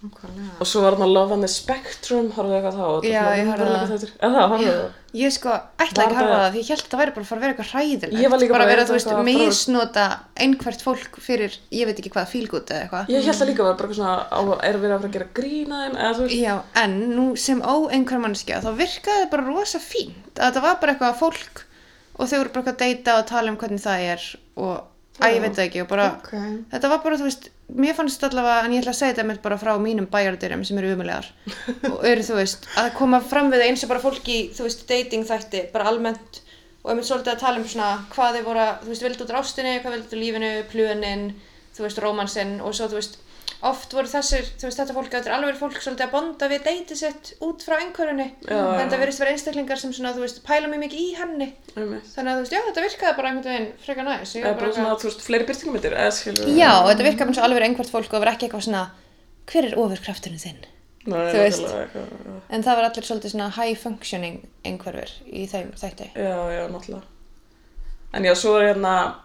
S2: Nákvæmlega.
S3: og svo var hann að Love on the Spectrum horfðu eitthvað þá og
S1: Já,
S3: þetta
S1: ég
S3: var
S1: horfði á
S3: líka þáttur. eða það horfðu það
S1: Ég sko ætlaði
S3: Var
S1: ekki að hafa
S3: þetta-
S1: það því ég held að þetta væri bara að fara að vera eitthvað hræðilegt.
S3: Ég var líka
S1: bara að
S3: bara,
S1: vera,
S3: er
S1: þú veist,
S3: þetta eitthvað-
S1: misnota einhvert fólk fyrir, ég veit ekki hvað, fílgút eða eitthvað.
S3: ég held það líka var bara eitthvað svona á, er verið að fara að gera grína þeim eða þú veist
S1: Já, en nú sem ó einhver mannskja þá virkaði bara rosa fínt að þetta var bara eitthvað fólk og þau voru bara eitthvað að deyta og tala um hvernig það er og að ég veit það ekki og bara
S2: Ok.
S1: þetta var bara, þú veist, mér fannst allavega en ég ætla að segja þetta mér bara frá mínum bæjardyrum sem eru umulegar og eru, þú veist, að koma fram við það eins og bara fólki, þú veist, dating þætti bara almennt og einmitt svolítið að tala um svona hvað þau voru, að, þú veist, vildu út rástinni hvað vildu út úr lífinu, plönin þú veist, rómansinn og svo, þú veist oft voru þessir, þú veist, þetta fólk þetta er alveg fólk svolítið að bonda við deiti sitt út frá einhverjunni,
S3: Já.
S1: en það verðist vera einstaklingar sem svona, þú veist, pæla mjög mikið í henni
S3: einmitt.
S1: þannig að, þú veist, já, þetta virkaði bara einhvern veginn frekar næs Ég var
S3: eða bara
S1: eitthvað-
S3: svona þú veist fleiri byrtingamöndir eða skilur
S1: Já, þetta virkar eins og alveg einhvert fólk og það var ekki eitthvað svona, hver er ofurkrafturinn þinn? þú veist.
S3: já,
S1: En það var allir svolítið svona high functioning einhverfur í þeim þætti.
S3: já, náttúrulega en já, svo er hérna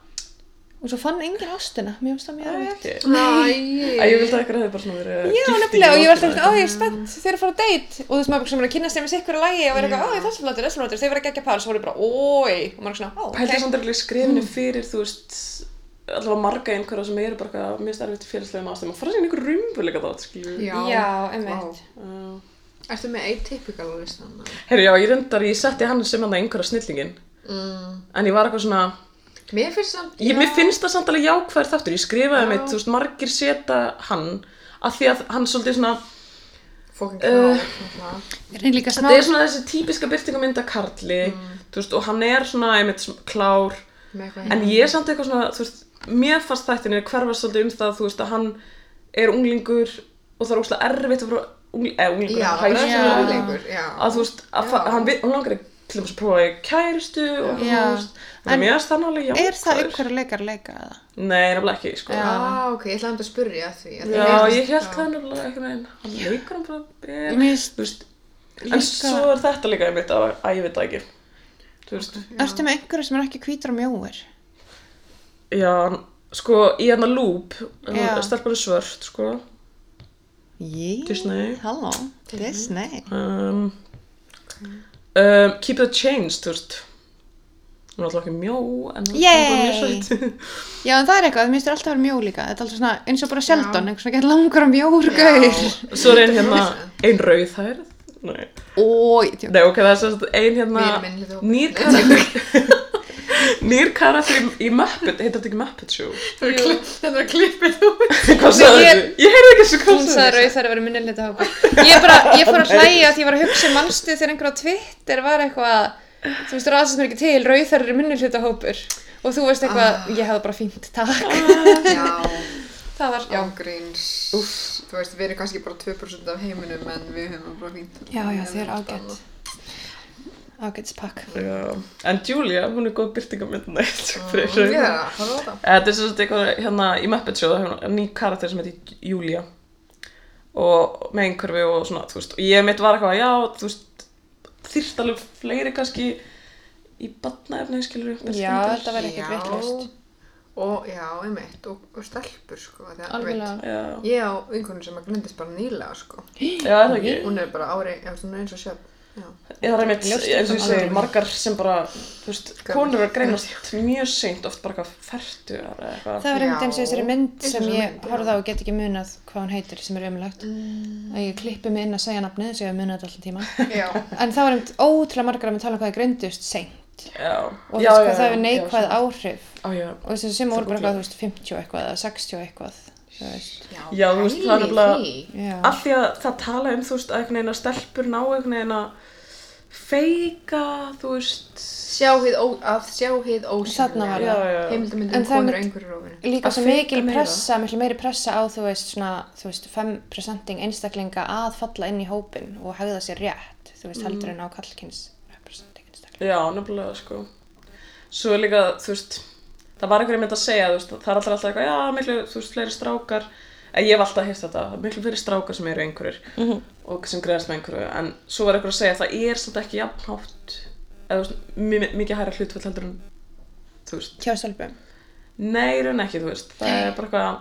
S1: Og svo fann enginn ástina, mér finnst það mjög
S3: að
S1: erfitt.
S3: ég
S2: Æ,
S3: vildi að ykkur hefði bara svona verið
S1: Já,
S3: gift í
S1: nefnilega, og ég var alltaf
S3: nóttina
S1: svona, ó, ég er spennt, þeir eru að fara að date. Og þú veist, maður bara svona kynna sem í sikkur lagi og vera eitthvað, ó, ég þessum látur, þessum látur, þeir vera ekki ekki að par, svo voru bara, ói, og maður svona, ó,
S3: Pældi okay.
S1: ok. Mm.
S3: samt alveg skrifinu fyrir, þú veist, allavega marga einhverja sem eru bara eitthvað mjög starfið til félagslegum ástæðum og fara sér einhver rumbuleika þátt, skiljum.
S2: Já.
S1: Já, einmitt.
S3: Uh,
S2: Ertu með atypical á listanum?
S3: Herri, já, ég reyndar, ég setti hann sem hann einhverja snillingin,
S2: Mm.
S3: en ég var eitthvað svona,
S2: Mér finnst samt...
S3: ég, mér finnst það samt alveg jákvæður þáttur, ég skrifaði
S2: Já.
S3: mitt, þú veist, margir seta hann, af því að hann svolítið svona,
S2: Fókin
S3: Uh,
S2: knáð. náttúrulega.
S1: Er henni líka smá?
S3: þetta er svona þessi típiska byrtingamynda Karli,
S2: Mm.
S3: þú veist, og hann er svona, einmitt, svona klár,
S2: Með eitthvað
S3: En ég er samt eitthvað svona, þú veist, mér fannst þættinni hverfa svolítið um það, þú veist, að hann er unglingur og það er óslega erfitt að fara ungli, eða unglingur,
S2: Já, það er
S1: hæstu-
S2: svona
S1: Já.
S2: úrleikur, já.
S3: að þú veist, að fa-
S2: Já.
S3: hann, vi- hann langar ekki til þess að prófa í kæristu og
S1: Já.
S3: þú veist, þannig
S1: En
S3: að mér er það nálega jákvæður.
S1: Er það einhverju leikar leika eða?
S3: Nei, nefnilega ekki, sko.
S1: Já. sko.
S3: Já,
S2: Ah, ok, ég ætlaði um að spyrja að því. að því
S3: ég held
S2: já.
S3: það nefnilega einhvern veginn, hann leikur hann bara vel,
S1: Mér finnst
S3: þú veist,
S1: líka-
S3: en svo er þetta líka einmitt að, að ég veit það ekki, þú veist.
S1: Ertu með einhverju sem er ekki hvítur og mjóir?
S3: Já, sko, í hann að lúp,
S1: Já.
S3: stelpan er svört, sko,
S1: Jí,
S3: Disney.
S1: halló, Disney.
S3: um, um, Keep the Change, þú veist hún er alltaf ekki mjó en hún er bara mjög
S1: Yay!
S3: sætt
S1: Já, en það er eitthvað, mér finnst þér alltaf að vera mjó líka. Þetta er alltaf svona, eins og bara Sheldon,
S2: Já.
S1: einhvers svona gett langur og um mjór gaur.
S3: svo er ein hérna ein rauð hærð nei,
S1: Ói, tjók.
S3: nei ok, það er sérst ein hérna
S2: Vinur minn hlýtur á-
S3: nýr karakter nýr karakter í, í Muppet heitir þetta ekki Muppet Show
S2: Það er klipp- þetta var klippið út.
S3: hvað
S1: ég-
S3: sagði þessu? Ég heyrði ekki þessu hvað
S1: Hún sagði
S3: sagði
S1: rauð þar að vera minni lita hópa. Ég bara, ég fór að hlæja því ég var að hugsa mannstu þegar einhver á Twitter var eitthvað, þú veist, rasism er ekki til, rauð þar eru minni lita hópur. Og þú veist eitthvað, ég hefði bara fínt, takk.
S2: Já.
S1: Það var, já.
S2: ágríns þú veist, við erum kannski bara 2% af heiminum en við höfum það bara fínt
S1: Já, já, þið er
S2: Við höfum þetta
S1: ágætt. Ágættis pakk.
S3: Já. en Julia, hún er góð byrtingamyndin
S2: annað. Já, það var það
S3: Þetta er sem sagt eitthvað hérna í Muppet Show, það er ný karakter sem heitir Julia og með einhverfi og svona, þú veist, og ég mitt var eitthvað, já, þú veist, þyrft alveg fleiri kannski í batnaefni, skilur við,
S1: Já, þetta var ekkert
S2: Já.
S1: vittlust.
S2: og já, einmitt, og, og stelpur sko, því að,
S1: Alveglega.
S3: Já,
S2: veit, ég á vinkunum sem að grindist bara nýlega sko.
S3: já, er það ekki,
S2: hún er bara ári, já, hún er eins og sjöfn já,
S3: ég það er mitt,
S1: Ljóst
S3: eins og ég
S1: þetta
S3: segi,
S1: alveg.
S3: margar sem bara, þú veist, konur er að greinast mjög seint, oft bara eitthvað ferdu eða eitthvað.
S1: Það var einmitt
S2: Já.
S1: eins og þessari mynd
S2: Eins og
S1: sem
S2: þessari
S1: ég
S2: mynd, já.
S1: horfði á og get ekki munað hvað hún heitir sem er umlagt. Að ég klippi mig inn að segja nafnið þess að ég hef munað þetta alltaf tíma.
S2: já,
S1: En það var einmitt ótrúlega margar að við tala um hvað það greindust seint.
S3: Já,
S1: Og
S3: já,
S1: já, sko,
S3: já,
S1: það
S3: já,
S1: hefur neikvæð
S3: já,
S1: áhrif.
S3: Á, já,
S1: Og þess að sem voru bara eitthvað,
S3: gúglaði.
S1: þú veist, 50 eitthvað eða 60 eitthvað. þú veist.
S3: Já, þú veist, það er
S2: pæli
S3: nefnilega-
S2: því.
S1: Já.
S3: af því að það tala um þú veist að einhvern veginn að stelpur ná einhvern veginn að feika, þú veist
S2: Sjá hið ó, að sjá hið
S1: Þarna var
S2: ósynlega.
S1: það. En
S2: Heimildamyndum
S1: það
S2: um konur
S1: mynd-
S2: og einhverjur ofinu.
S1: Líka
S3: Að
S1: svo
S3: feika
S1: mikil
S3: meira.
S1: pressa, mikil meiri pressa á þú veist svona, þú veist, 5% einstaklinga að falla inn í hópin og hegða sér rétt, þú
S3: Mm.
S1: veist, heldur en á kallkins representing einstaklinga.
S3: Já, nefnilega, sko. Svo er líka, þú veist, það var einhverjum mynd að segja, þú veist, það er alltaf alltaf eitthvað, já, miklu, þú veist, fleiri strákar, en ég hef alltaf heyrt þetta, það er miklu fleiri strákar sem eru einhverjir og sem greiðast með einhverju, en svo var einhver að segja að það er samt ekki jafnhátt, eða þú veist, mi- mi- mikið hærra hlutfall heldur en, þú veist,
S1: Hjá stelpum.
S3: Nei, í raun ekki, þú veist, það er
S1: Nei.
S3: bara eitthvað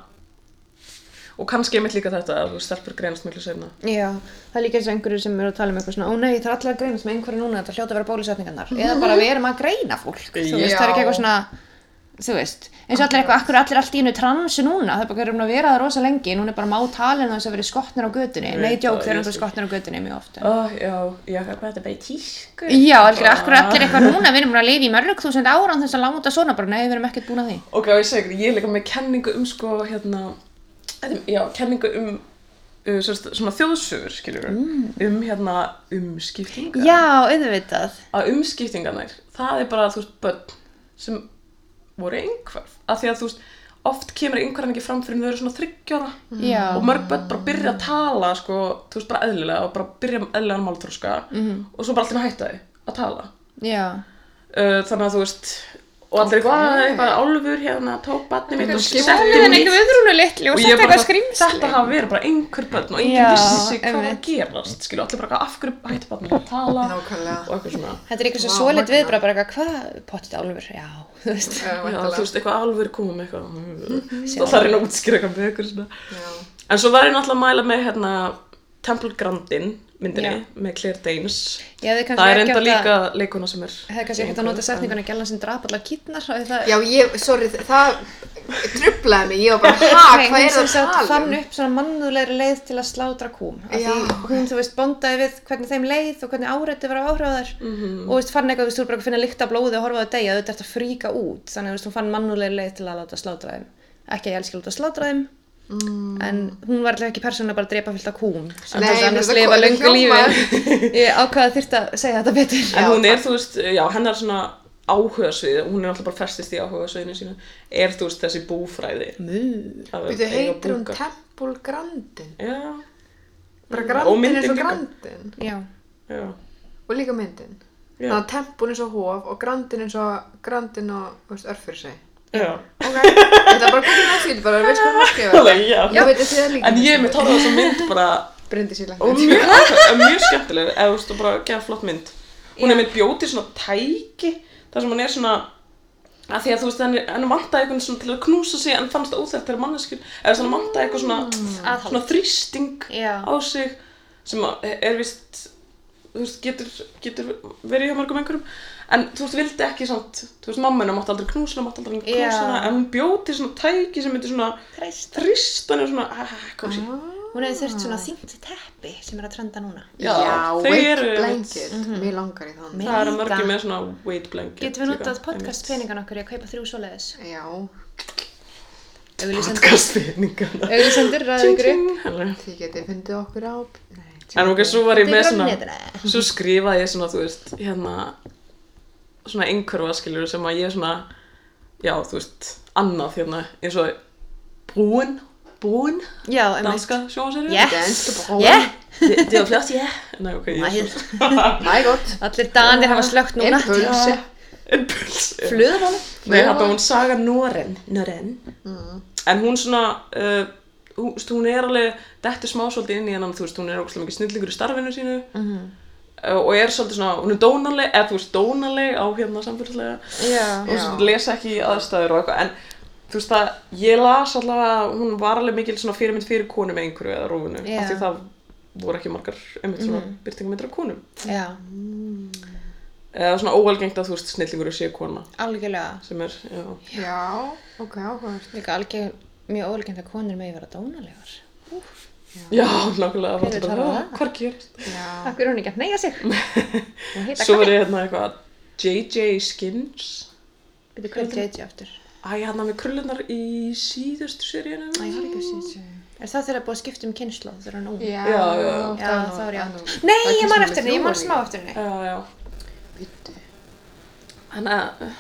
S3: og kannski einmitt líka þetta að þú stelpur greinast miklu seinna.
S1: Já, það er líka eins og einhverju sem eru að tala um eitthvað svona, ó nei, það er allir að greinast með einhverju núna, þetta hljóta að vera bólusetningarnar.
S3: Mhm.
S1: Eða bara við erum að greina fólk, þú veist, það er ekki
S2: Já.
S1: eitthvað svona, þú veist, eins og allir eitthvað, akkur allir allt í einu transu núna, það er bara erum að vera það rosa lengi, núna er bara má talin þess að vera skotnir á götunni, nei,
S3: Ég veit
S1: djók,
S3: það,
S1: þeir eru
S3: ég
S1: alltaf
S3: skil.
S1: skotnir á götunni mjög ofta.
S3: Oh, já, já, hvað þetta er bara í tísku
S1: Já, algjörlega, akkur allir eitthvað
S3: Ah.
S1: núna, við erum bara að lifa í mörg þúsund ára án þess að láta svona bara, nei, við erum ekkert búin að því.
S3: Ok, og ég segi, ég er líka með kenningu um sko, hérna, já, kenningu um uh, svo- svona þjóðsögur, skiljur mm. um hérna umskiptingar
S1: Já, auðvitað.
S3: að umskiptingarnir, það er bara, þú veist, börn sem voru einhverf, að því að þú veist oft kemur einhverjan ekki fram fyrir en þau eru svona þryggjara
S1: Já.
S3: og mörg börn bara byrja að tala sko, þú veist bara eðlilega og bara byrja um eðlilegan málþróska
S1: Mhm.
S3: -hmm. og svo bara allir hætta þau að tala
S1: Já.
S3: uh, þannig að þú veist og allir eitthvað, "Að, eitthvað álfur hérna tók batni mitt og
S2: skipti
S3: setti
S1: Alveg en
S3: mig í-"
S1: eitthvað viðrúnu litli og
S3: og ég
S1: setja
S3: bara,
S1: eitthvað
S3: eitthvað, þetta
S1: skrýmsli.
S3: hafa verið bara einhver börn og enginn
S1: Já,
S3: vissi hvað var
S1: einmitt.
S3: að gerast skilu, allir bara af hverju hætti batni að tala og
S2: Nákvæmlega.
S3: eitthvað svona
S1: Þetta er eitthvað svo
S2: Vá,
S1: svoleitt
S2: magnað.
S1: viðbröð, bara eitthvað, hvað, pottit álfur, já, þú veist.
S2: Já,
S3: Já, þú
S2: væntanlega.
S3: veist, eitthvað alveg komið með eitthvað og það er einn að útskýra eitthvað með eitthvað svona
S2: Já.
S3: En svo var ég náttúrulega að mæla með hérna Temple Grandin myndinni
S1: Já.
S3: með Claire Danes
S1: Ég hefði
S3: Það er
S1: kannski ekki
S3: enda
S1: átt að,
S3: líka leikuna sem er
S1: hefði kannski ekki átt að nota setninguna gælan sem drap allar kýtnar, og það
S2: Já, ég, sorry, þ- það trublaði mig, ég var bara,
S1: Nei,
S2: ha, hvað
S1: hún
S2: er
S1: sem
S2: það
S1: sagt
S2: að tala
S1: fann
S2: um?
S1: upp svona mannúðlegri leið til að slátra kúm af því
S2: Já.
S1: hún, þú veist, bondaði við hvernig þeim leið og hvernig áreiti var á áhráðar
S2: Mhm.
S1: -hmm. og þú veist, fann eitthvað, þú veist, þú er bara að finna lykt af blóði og horfa á það degja, þetta er að fríka út þannig að þú veist, hún fann mannúðlegri leið til að láta slátra þeim ekki að ég elskil út að slátra þeim mm. en hún var alltaf ekki persónulega bara að drepa fyllt af kúm sem
S2: Nei,
S1: þess
S2: ég
S1: að annars
S2: meina,
S1: lifa
S2: það-
S1: löngu
S2: það
S1: lífi ég ákvaða þyrft að segja þetta betur
S3: En
S2: Já,
S3: hún er, þú veist, eh, já, hennar svona áhugasvið, hún er alltaf bara festist í áhugasviðinu sínu er, þú veist, þessi búfræði
S1: Mú.
S3: að
S2: Þú heitir hún
S3: búka.
S2: Temple Grandin.
S3: Já,
S2: Bara
S3: Og
S2: Grandin
S3: myndin
S2: er svo
S3: líka.
S2: Grandin.
S1: Já.
S3: já,
S2: Og líka myndin.
S3: Já.
S2: Þannig að Temple er svo Hof og Grandin er svo Grandin og, þú veist, örfyrir sig.
S3: já
S2: Ok, þetta er bara góðið næstíl, bara veist hvað það skrifa.
S3: Alveg, já.
S2: Þú veit að þið líka.
S3: En ég er með tóra þessa mynd bara
S2: Bryndi síla.
S3: og mjög, áhuga- mjög skemmtileg eða, þú veist, og bara geða flott mynd Hún er með bjóti svona tæki þar sem hún er svona að því að þú veist, henni, henni vantaði eitthvað svona til að knúsa sig en fannst óþægt þegar manneskjur eða svona vantaði eitthvað svona,
S1: Aðhald.
S3: svona þrýsting
S1: Mm. Já.
S3: á sig sem að e, er vist þú veist, getur, getur verið hjá mörgum einhverjum en þú veist, vildi ekki samt þú veist, mamma henni mátti aldrei knúsa henni, mátti aldrei knúsa
S1: Já.
S3: henni en hún bjóti svona tæki sem myndi svona
S1: Kreist.
S3: þrýst henni svona, ah, kósi
S1: hún hefði þurft svona þýnt teppi sem er að trenda núna
S3: Já, þau
S2: Wake
S3: eru- Mhm.
S2: Blanket, mér langar í þann.
S1: Mér
S3: það er að
S1: líka.
S3: mörgum með svona weight blanket
S1: Getum við
S3: líka,
S1: notað
S3: einmitt.
S1: podcast peningan okkur í að kaupa þrjú svoleiðis?
S2: Já,
S1: Auðlýsendur,
S3: podcast peningana
S1: auðlýsendur, ræðu ykkur upp.
S3: en
S2: þið getið fundið okkur á. Nei,
S3: ok, svo var ég
S1: Þetta
S3: með
S1: er
S3: svona
S1: grannnetina.
S3: svo skrifaði ég svona, þú veist, hérna svona einhverfa skiljur sem að ég svona já, þú veist, annað hérna eins og brúin brúin,
S1: Já, einmitt.
S3: danska sjónserið
S1: Yeah.
S2: Danske brón.
S1: Yeah.
S3: þetta var flott, já Nei, ok, ég
S1: Nei.
S3: er svo
S2: My god.
S1: Allir danir hafa slögt núna.
S2: Impulse.
S3: en puls já.
S1: Flöður hann?
S3: Nei, hann hún saga Noren Noren
S2: Mm.
S3: En hún svona uh, hún, þú veist, hún er alveg dettur smá svolítið inn í hennan þú veist, hún er ógustlega mikið snillingur í starfinu sínu uh, og er svolítið svona hún er dónaleg, eða þú veist, dónaleg á hérna samfélagslega
S1: Já.
S3: og svona, lesa ekki í aðstæður og eitthvað en þú veist það, ég las allavega hún var alveg mikil svona fyrirmynd fyrir konu með einhverju eða rúfinu,
S1: Já. Mhm.
S3: af því það voru ekki margar, einmitt svona mm. byrtingamindra konum
S1: Já,
S3: eða svona óalgengt að þú veist, snillingur sé kona
S1: algjörlega.
S3: sem er, já,
S2: Já, ok, áhugavert.
S1: Líka algjör, mjög ólegend að konur megi vera dónalegar.
S3: Já, nákvæmlega, það var
S1: Hver
S3: alltaf
S1: vill horfa
S3: bara,
S1: á
S3: "Ah,
S1: það?"
S3: hvað gerist?
S2: Já.
S1: Akkur er hún ekki að neyja sig. Hún heita
S3: Svo
S1: hvað?
S3: verið hérna eitthvað JJ Skins
S1: Býtu, hvað er JJ aftur?
S3: hérna Æ, hann er með krullunar í síðustu seríunum
S1: Æ, það er ekki að sýta. Er það þegar búið að skipta um kynslu þegar hann ung?
S2: Já,
S3: Já, já, já.
S1: Já,
S2: það
S1: þá er ég átt.
S2: nú-
S1: Nei,
S2: það er
S1: ég man
S2: kynslu
S1: eftir
S2: númer
S1: henni, ég man
S2: þrjú,
S1: smá eftir henni.
S3: Já, já.
S2: Bíddu.
S3: Þannig að uh,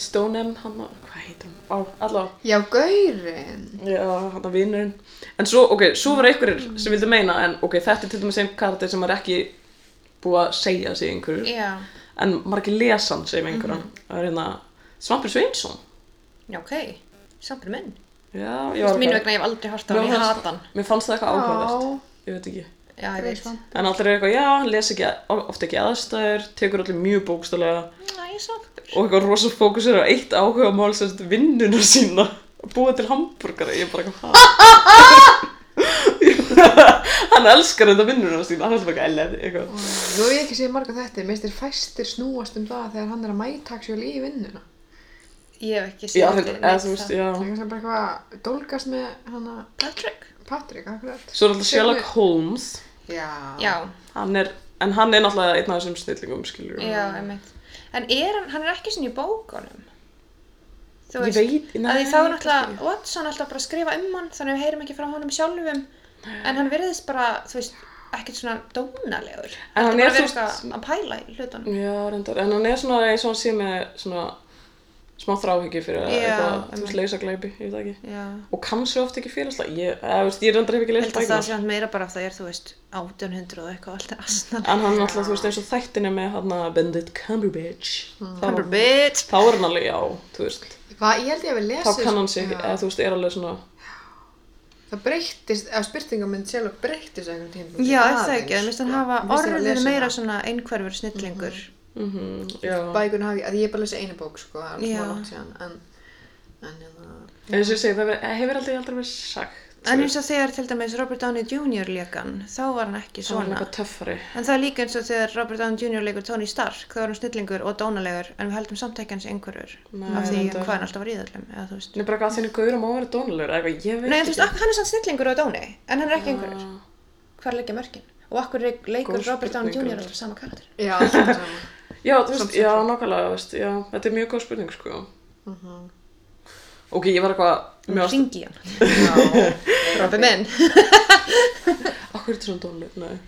S3: Stónen, hann að, hvað heitir hann? Á, allavega.
S2: Já, gaurinn.
S3: Já, hann að vinurinn. En svo, ok, svo voru einhverjir sem vildu meina, en ok, þetta er til dæmis einn karakter sem er ekki búið að segja sig einhverjur.
S1: Já,
S3: En margir lesan sig einhverjum.
S1: Mhm.
S3: Það er hérna Svampur Sveinsson.
S1: já, ok. Sampur minn.
S3: Já,
S1: Þú
S3: ég var
S1: veist, mínu
S3: bara-
S1: vegna ég hef aldrei hort á
S3: Mér
S1: hann, ég
S3: fannst-
S1: hata hann.
S3: Mér fannst það eitthvað áhugavert.
S2: Já,
S3: Ég veit ekki.
S1: Já, ég veit.
S2: Sveinsson.
S3: En allir eru eitthvað, já, hann les ekki, ofta ekki aðstæður, tekur allir mjög bókstælega
S1: Já, ég sampur.
S3: og eitthvað rosa fókus er á eitt áhuga mál sem sagt vinnuna sína að búa til hambúrgara, ég er bara eitthvað hæ hann elskar þetta vinnuna sína hann er alltaf eitthvað ellið eitthvað.
S2: Nú hef ég ekki séð marga þetta, mér styrir fæstir snúast um það þegar hann er að mæta actually í vinnuna.
S1: Ég hef ekki
S3: já,
S1: séð
S3: þetta, eða þú veist, já
S2: Það er kannski bara eitthvað að dólgast með hana
S1: Patrick?
S2: Patrik, akkurat.
S3: svo er alltaf Sherlock Holmes
S2: Já.
S1: Já,
S3: hann er, en hann er náttúrulega einn af þessum snillingum, skilur
S1: já, ég veit. En er hann, hann er ekki svona í bókunum? Þú
S3: ég
S1: veist,
S3: veit,
S1: að því þá er náttúrulega Watson alltaf bara að skrifa um hann þannig að við heyrum ekki frá honum sjálfum en hann virðist bara, þú veist, ekkert svona dónalegur
S3: En hann
S1: hann er
S3: er, þú
S1: bara verið
S3: veist- Mm.
S1: eitthvað að pæla í hlutunum
S3: já, reyndar, en hann er svona eins og hann sé með svona smá þráhyggju fyrir
S1: Já,
S3: eitthvað, þú
S1: einmitt.
S3: veist, leysa glæpi, ég veit það ekki
S1: Já,
S3: og kannski ofta ekki félagslega ég, eða, veist, ég reyndar hef ekki
S1: ég
S3: leist
S1: held að það sé hann meira bara af það er, þú veist, 1800 og eitthvað alltaf asnan
S3: en hann alltaf, þú veist, eins og þættinni með hann að Bendit Cumberbatch þá,
S1: Mm. Cumberbatch
S3: þá er hann alveg, já, þú veist
S2: Hvað, ég held ég að við
S3: þá
S2: lesa
S3: kann hann sig, eða þú veist, er alveg svona
S2: Það breyttist, eða spurningamönd sjálf breyttist einhvern tíma.
S1: Já, er það ekki, það minnst hann hafa orðið meira
S2: svona.
S1: svona einhverfur snillingur
S3: mhm, já,
S2: Bækun hafi, að ég er bara að lesa eina bók, sko, það er
S1: Já.
S2: smá langt síðan, en, en, hérna- en,
S3: eins og ég segi, það hefur- hefur aldrei aldrei verið sagt
S1: En eins og þegar til dæmis Robert Downey Jr. leikan, þá var hann ekki
S3: það var hann
S1: svona
S3: eitthvað töffari
S1: En það er líka eins og þegar Robert Downey Jr. leikur Tony Stark, þá er hann snillingur og dónalegur, en við heldum samt ekki hans einhverjur
S3: Nei,
S1: af því
S3: reyndar.
S1: hvað hann alltaf var í þallum, eða þú veist.
S3: hann er bara eitthvað að þenni gauður á máveru dónulegur eða eitthvað, ég veit
S1: Nei, en þú veist,
S3: ekki
S1: af- hann er samt snillingur og dóni, en hann er ekki einhverjur.
S3: Já.
S1: Hvar leggja mörkin? Og akkur leikur
S3: Góð
S1: Robert Downey Jr.
S3: spurning, reyndar.
S1: alltaf sama karakter?
S2: já, alltaf saman.
S3: já, þú veist,
S2: Samt
S3: já,
S2: sem-
S3: nákvæmlega, þú veist, já, þetta er mjög góð spurning, sko
S1: Mhm.
S3: ok, ég var eitthvað
S1: Hún
S3: mjög ást
S1: ringi hann.
S2: Já,
S1: Robert minn.
S3: okkur er þetta svona dónulegur, nei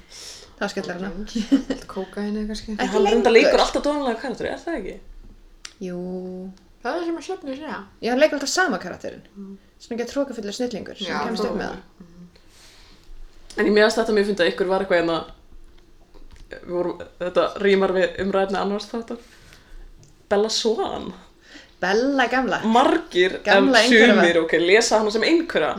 S1: Þá skellir hann á.
S2: kóka henni kannski.
S1: Ekki
S3: hann reynda
S1: lengur.
S3: leikur alltaf dónulega karakter, er það ekki?
S1: Jú.
S2: Það er sem að sjöfnir sér að.
S1: Já, hann leikur alltaf sama karakterinn.
S3: Mm.
S1: Svona ekki að tróka fullir snillingur sem
S2: Já,
S1: kemst upp með
S3: það.
S1: það.
S3: Mhm. En ég meðast þetta mér fyndi að ykkur var eitthvað en að við vorum, þetta rýmar við umræðinni annars þáttar Bella Swan
S1: Bella gamla.
S3: margir
S1: Gamla
S3: en
S1: einhverfa. Mhm.
S3: sumir ok, lesa hana sem einhverja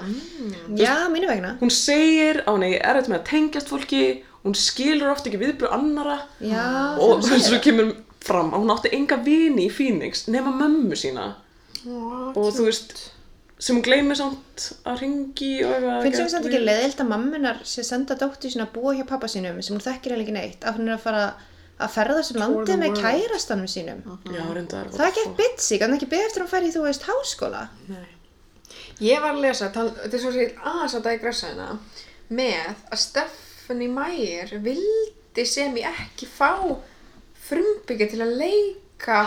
S1: Já, mínu vegna.
S3: hún segir að hún eigi erfitt með að tengjast fólki hún skilur oft ekki viðbröð annara
S1: Já,
S3: og
S1: það
S3: svo kemur fram að hún átti enga vini í Phoenix nema mömmu sína og þú veist sem hún gleymir samt að ringi og eitthvað
S1: Finnst þér samt ekki leiðilt að mammunar sé að senda dóttur sína að búa hjá pappa sínum sem hún þekkir eiginlega ekki neitt af hún er að fara að ferðast um landið
S2: the
S1: með
S2: world.
S1: kærastanum sínum
S3: Já, reyndar
S1: Það er ekki bitsi, kannu ekki beða eftir að hún færi í þú veist háskóla
S2: Nei. Ég var að lesa, tal, þetta er svo að segja aðeins að digressa hérna, með að Stephanie Meyer vildi sem ég ekki fá frumbyggja til að leika,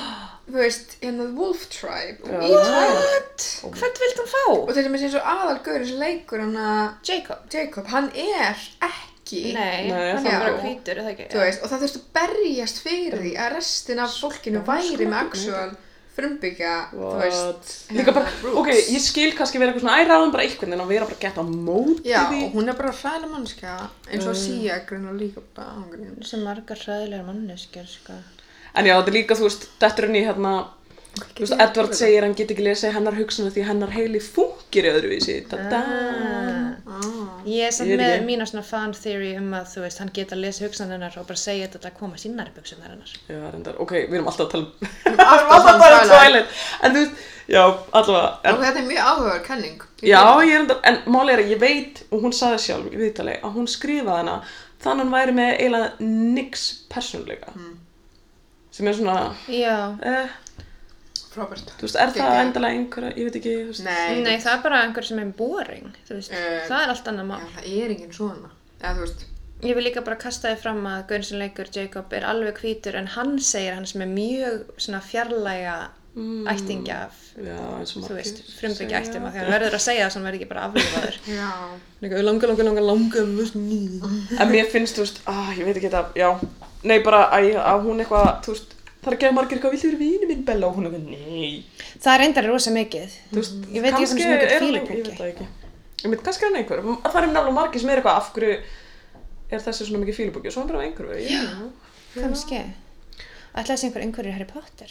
S2: þú veist, hérna The Wolf Tribe í
S3: Já.
S2: Twilight.
S1: Hvern vilt hún fá?
S2: Og til dæmis eins og aðalgaurin sem leikur hann að
S1: Jacob?
S2: Jacob, hann er ekki,
S1: Nei,
S3: Nei,
S1: hann
S3: það
S1: er bara
S2: já.
S1: hvítur, er það ekki?
S2: þú veist, og það þurfti að berjast fyrir því að restin af fólkinu væri með actual frumbyggja, þú veist, Hérna.
S3: What? Líka bara,
S2: roots.
S3: ok, ég skil kannski vera eitthvað svona æraðum bara einhvern veginn og vera bara gett á móti
S2: Já,
S3: því.
S2: og hún er bara hræðileg mannskja eins og síja grunn og líka bara ángrín
S1: Svo margar hræðilegar manneskjur, sko
S3: En já, þetta er líka, þú veist, þetta er henni hérna, þú veist, Edward segir að hann get ekki lesið hennar hugsunum því hennar heili fungir öðruvísi. Da-da.
S2: ah.
S1: Ég er samt
S3: Ég veit
S1: með
S3: ekki.
S1: mína svona fan theory um að þú veist, hann geta að lesa hugsanennar og bara segja þetta að koma sínar í buksunar hennar
S3: Já, reyndar, ok, við erum alltaf að tala um, við
S2: alltaf
S3: erum alltaf að tala um
S2: Twilight.
S3: Twilight. En þú veist, já, allavega, en,
S2: og þetta er mjög áhugaður kenning
S3: já, ég er reyndar, en máli er að ég veit, og hún sagði sjálf í viðtali, að hún skrifaði hana, þannig hún væri með eiginlega nix persónuleika.
S2: Hmm.
S3: Sem er svona,
S1: Já,
S3: eh,
S2: Robert
S3: þú veist, er það
S2: Geggjað.
S3: endalega einhverja, ég veit ekki, þú veist.
S2: Nei,
S1: nei, það er bara einhver sem er boring, þú veist
S3: Mm.
S2: Eh,
S1: Það er allt annað mál
S2: Já, það er enginn svona eða þú veist,
S1: Ég vil líka bara kasta þið fram að Gaurinn sem leikur Jacob er alveg hvítur en hann segir að hann sem er mjög svona fjarlæga
S3: Mm.
S1: ættingja af,
S3: Já, eins og
S1: þú veist, frumbyggja
S3: segja.
S1: ættum af því að hann verður að segja það sem hann verður ekki bara aflýfaður.
S2: Já.
S3: Líka, við langar, langar, langar, langar, þú veist, ný. En mér finnst, þú veist, ah, ég veit ekki þetta, já. Nei, bara að, ég- að hún eitthvað, þú veist, það er að gera margir eitthvað, viltu vera vini minn, Bella? Og hún eitthvað, nei.
S1: það er endar rosa mikið.
S3: Þú veist,
S1: Ég veit ekki hvernig sem
S3: er
S1: eitthvað
S3: hann- Ég
S1: fílupungi.
S3: veit það ekki. Ég veit, kannski er hann einhver. Það er náttúrulega margir sem er eitthvað, af hverju er þessi svona mikið fílupungi? Og svo er hann bara einhver, ég-
S1: Kannski. Ætlaði þessi einhver einhverjir Harry Potter?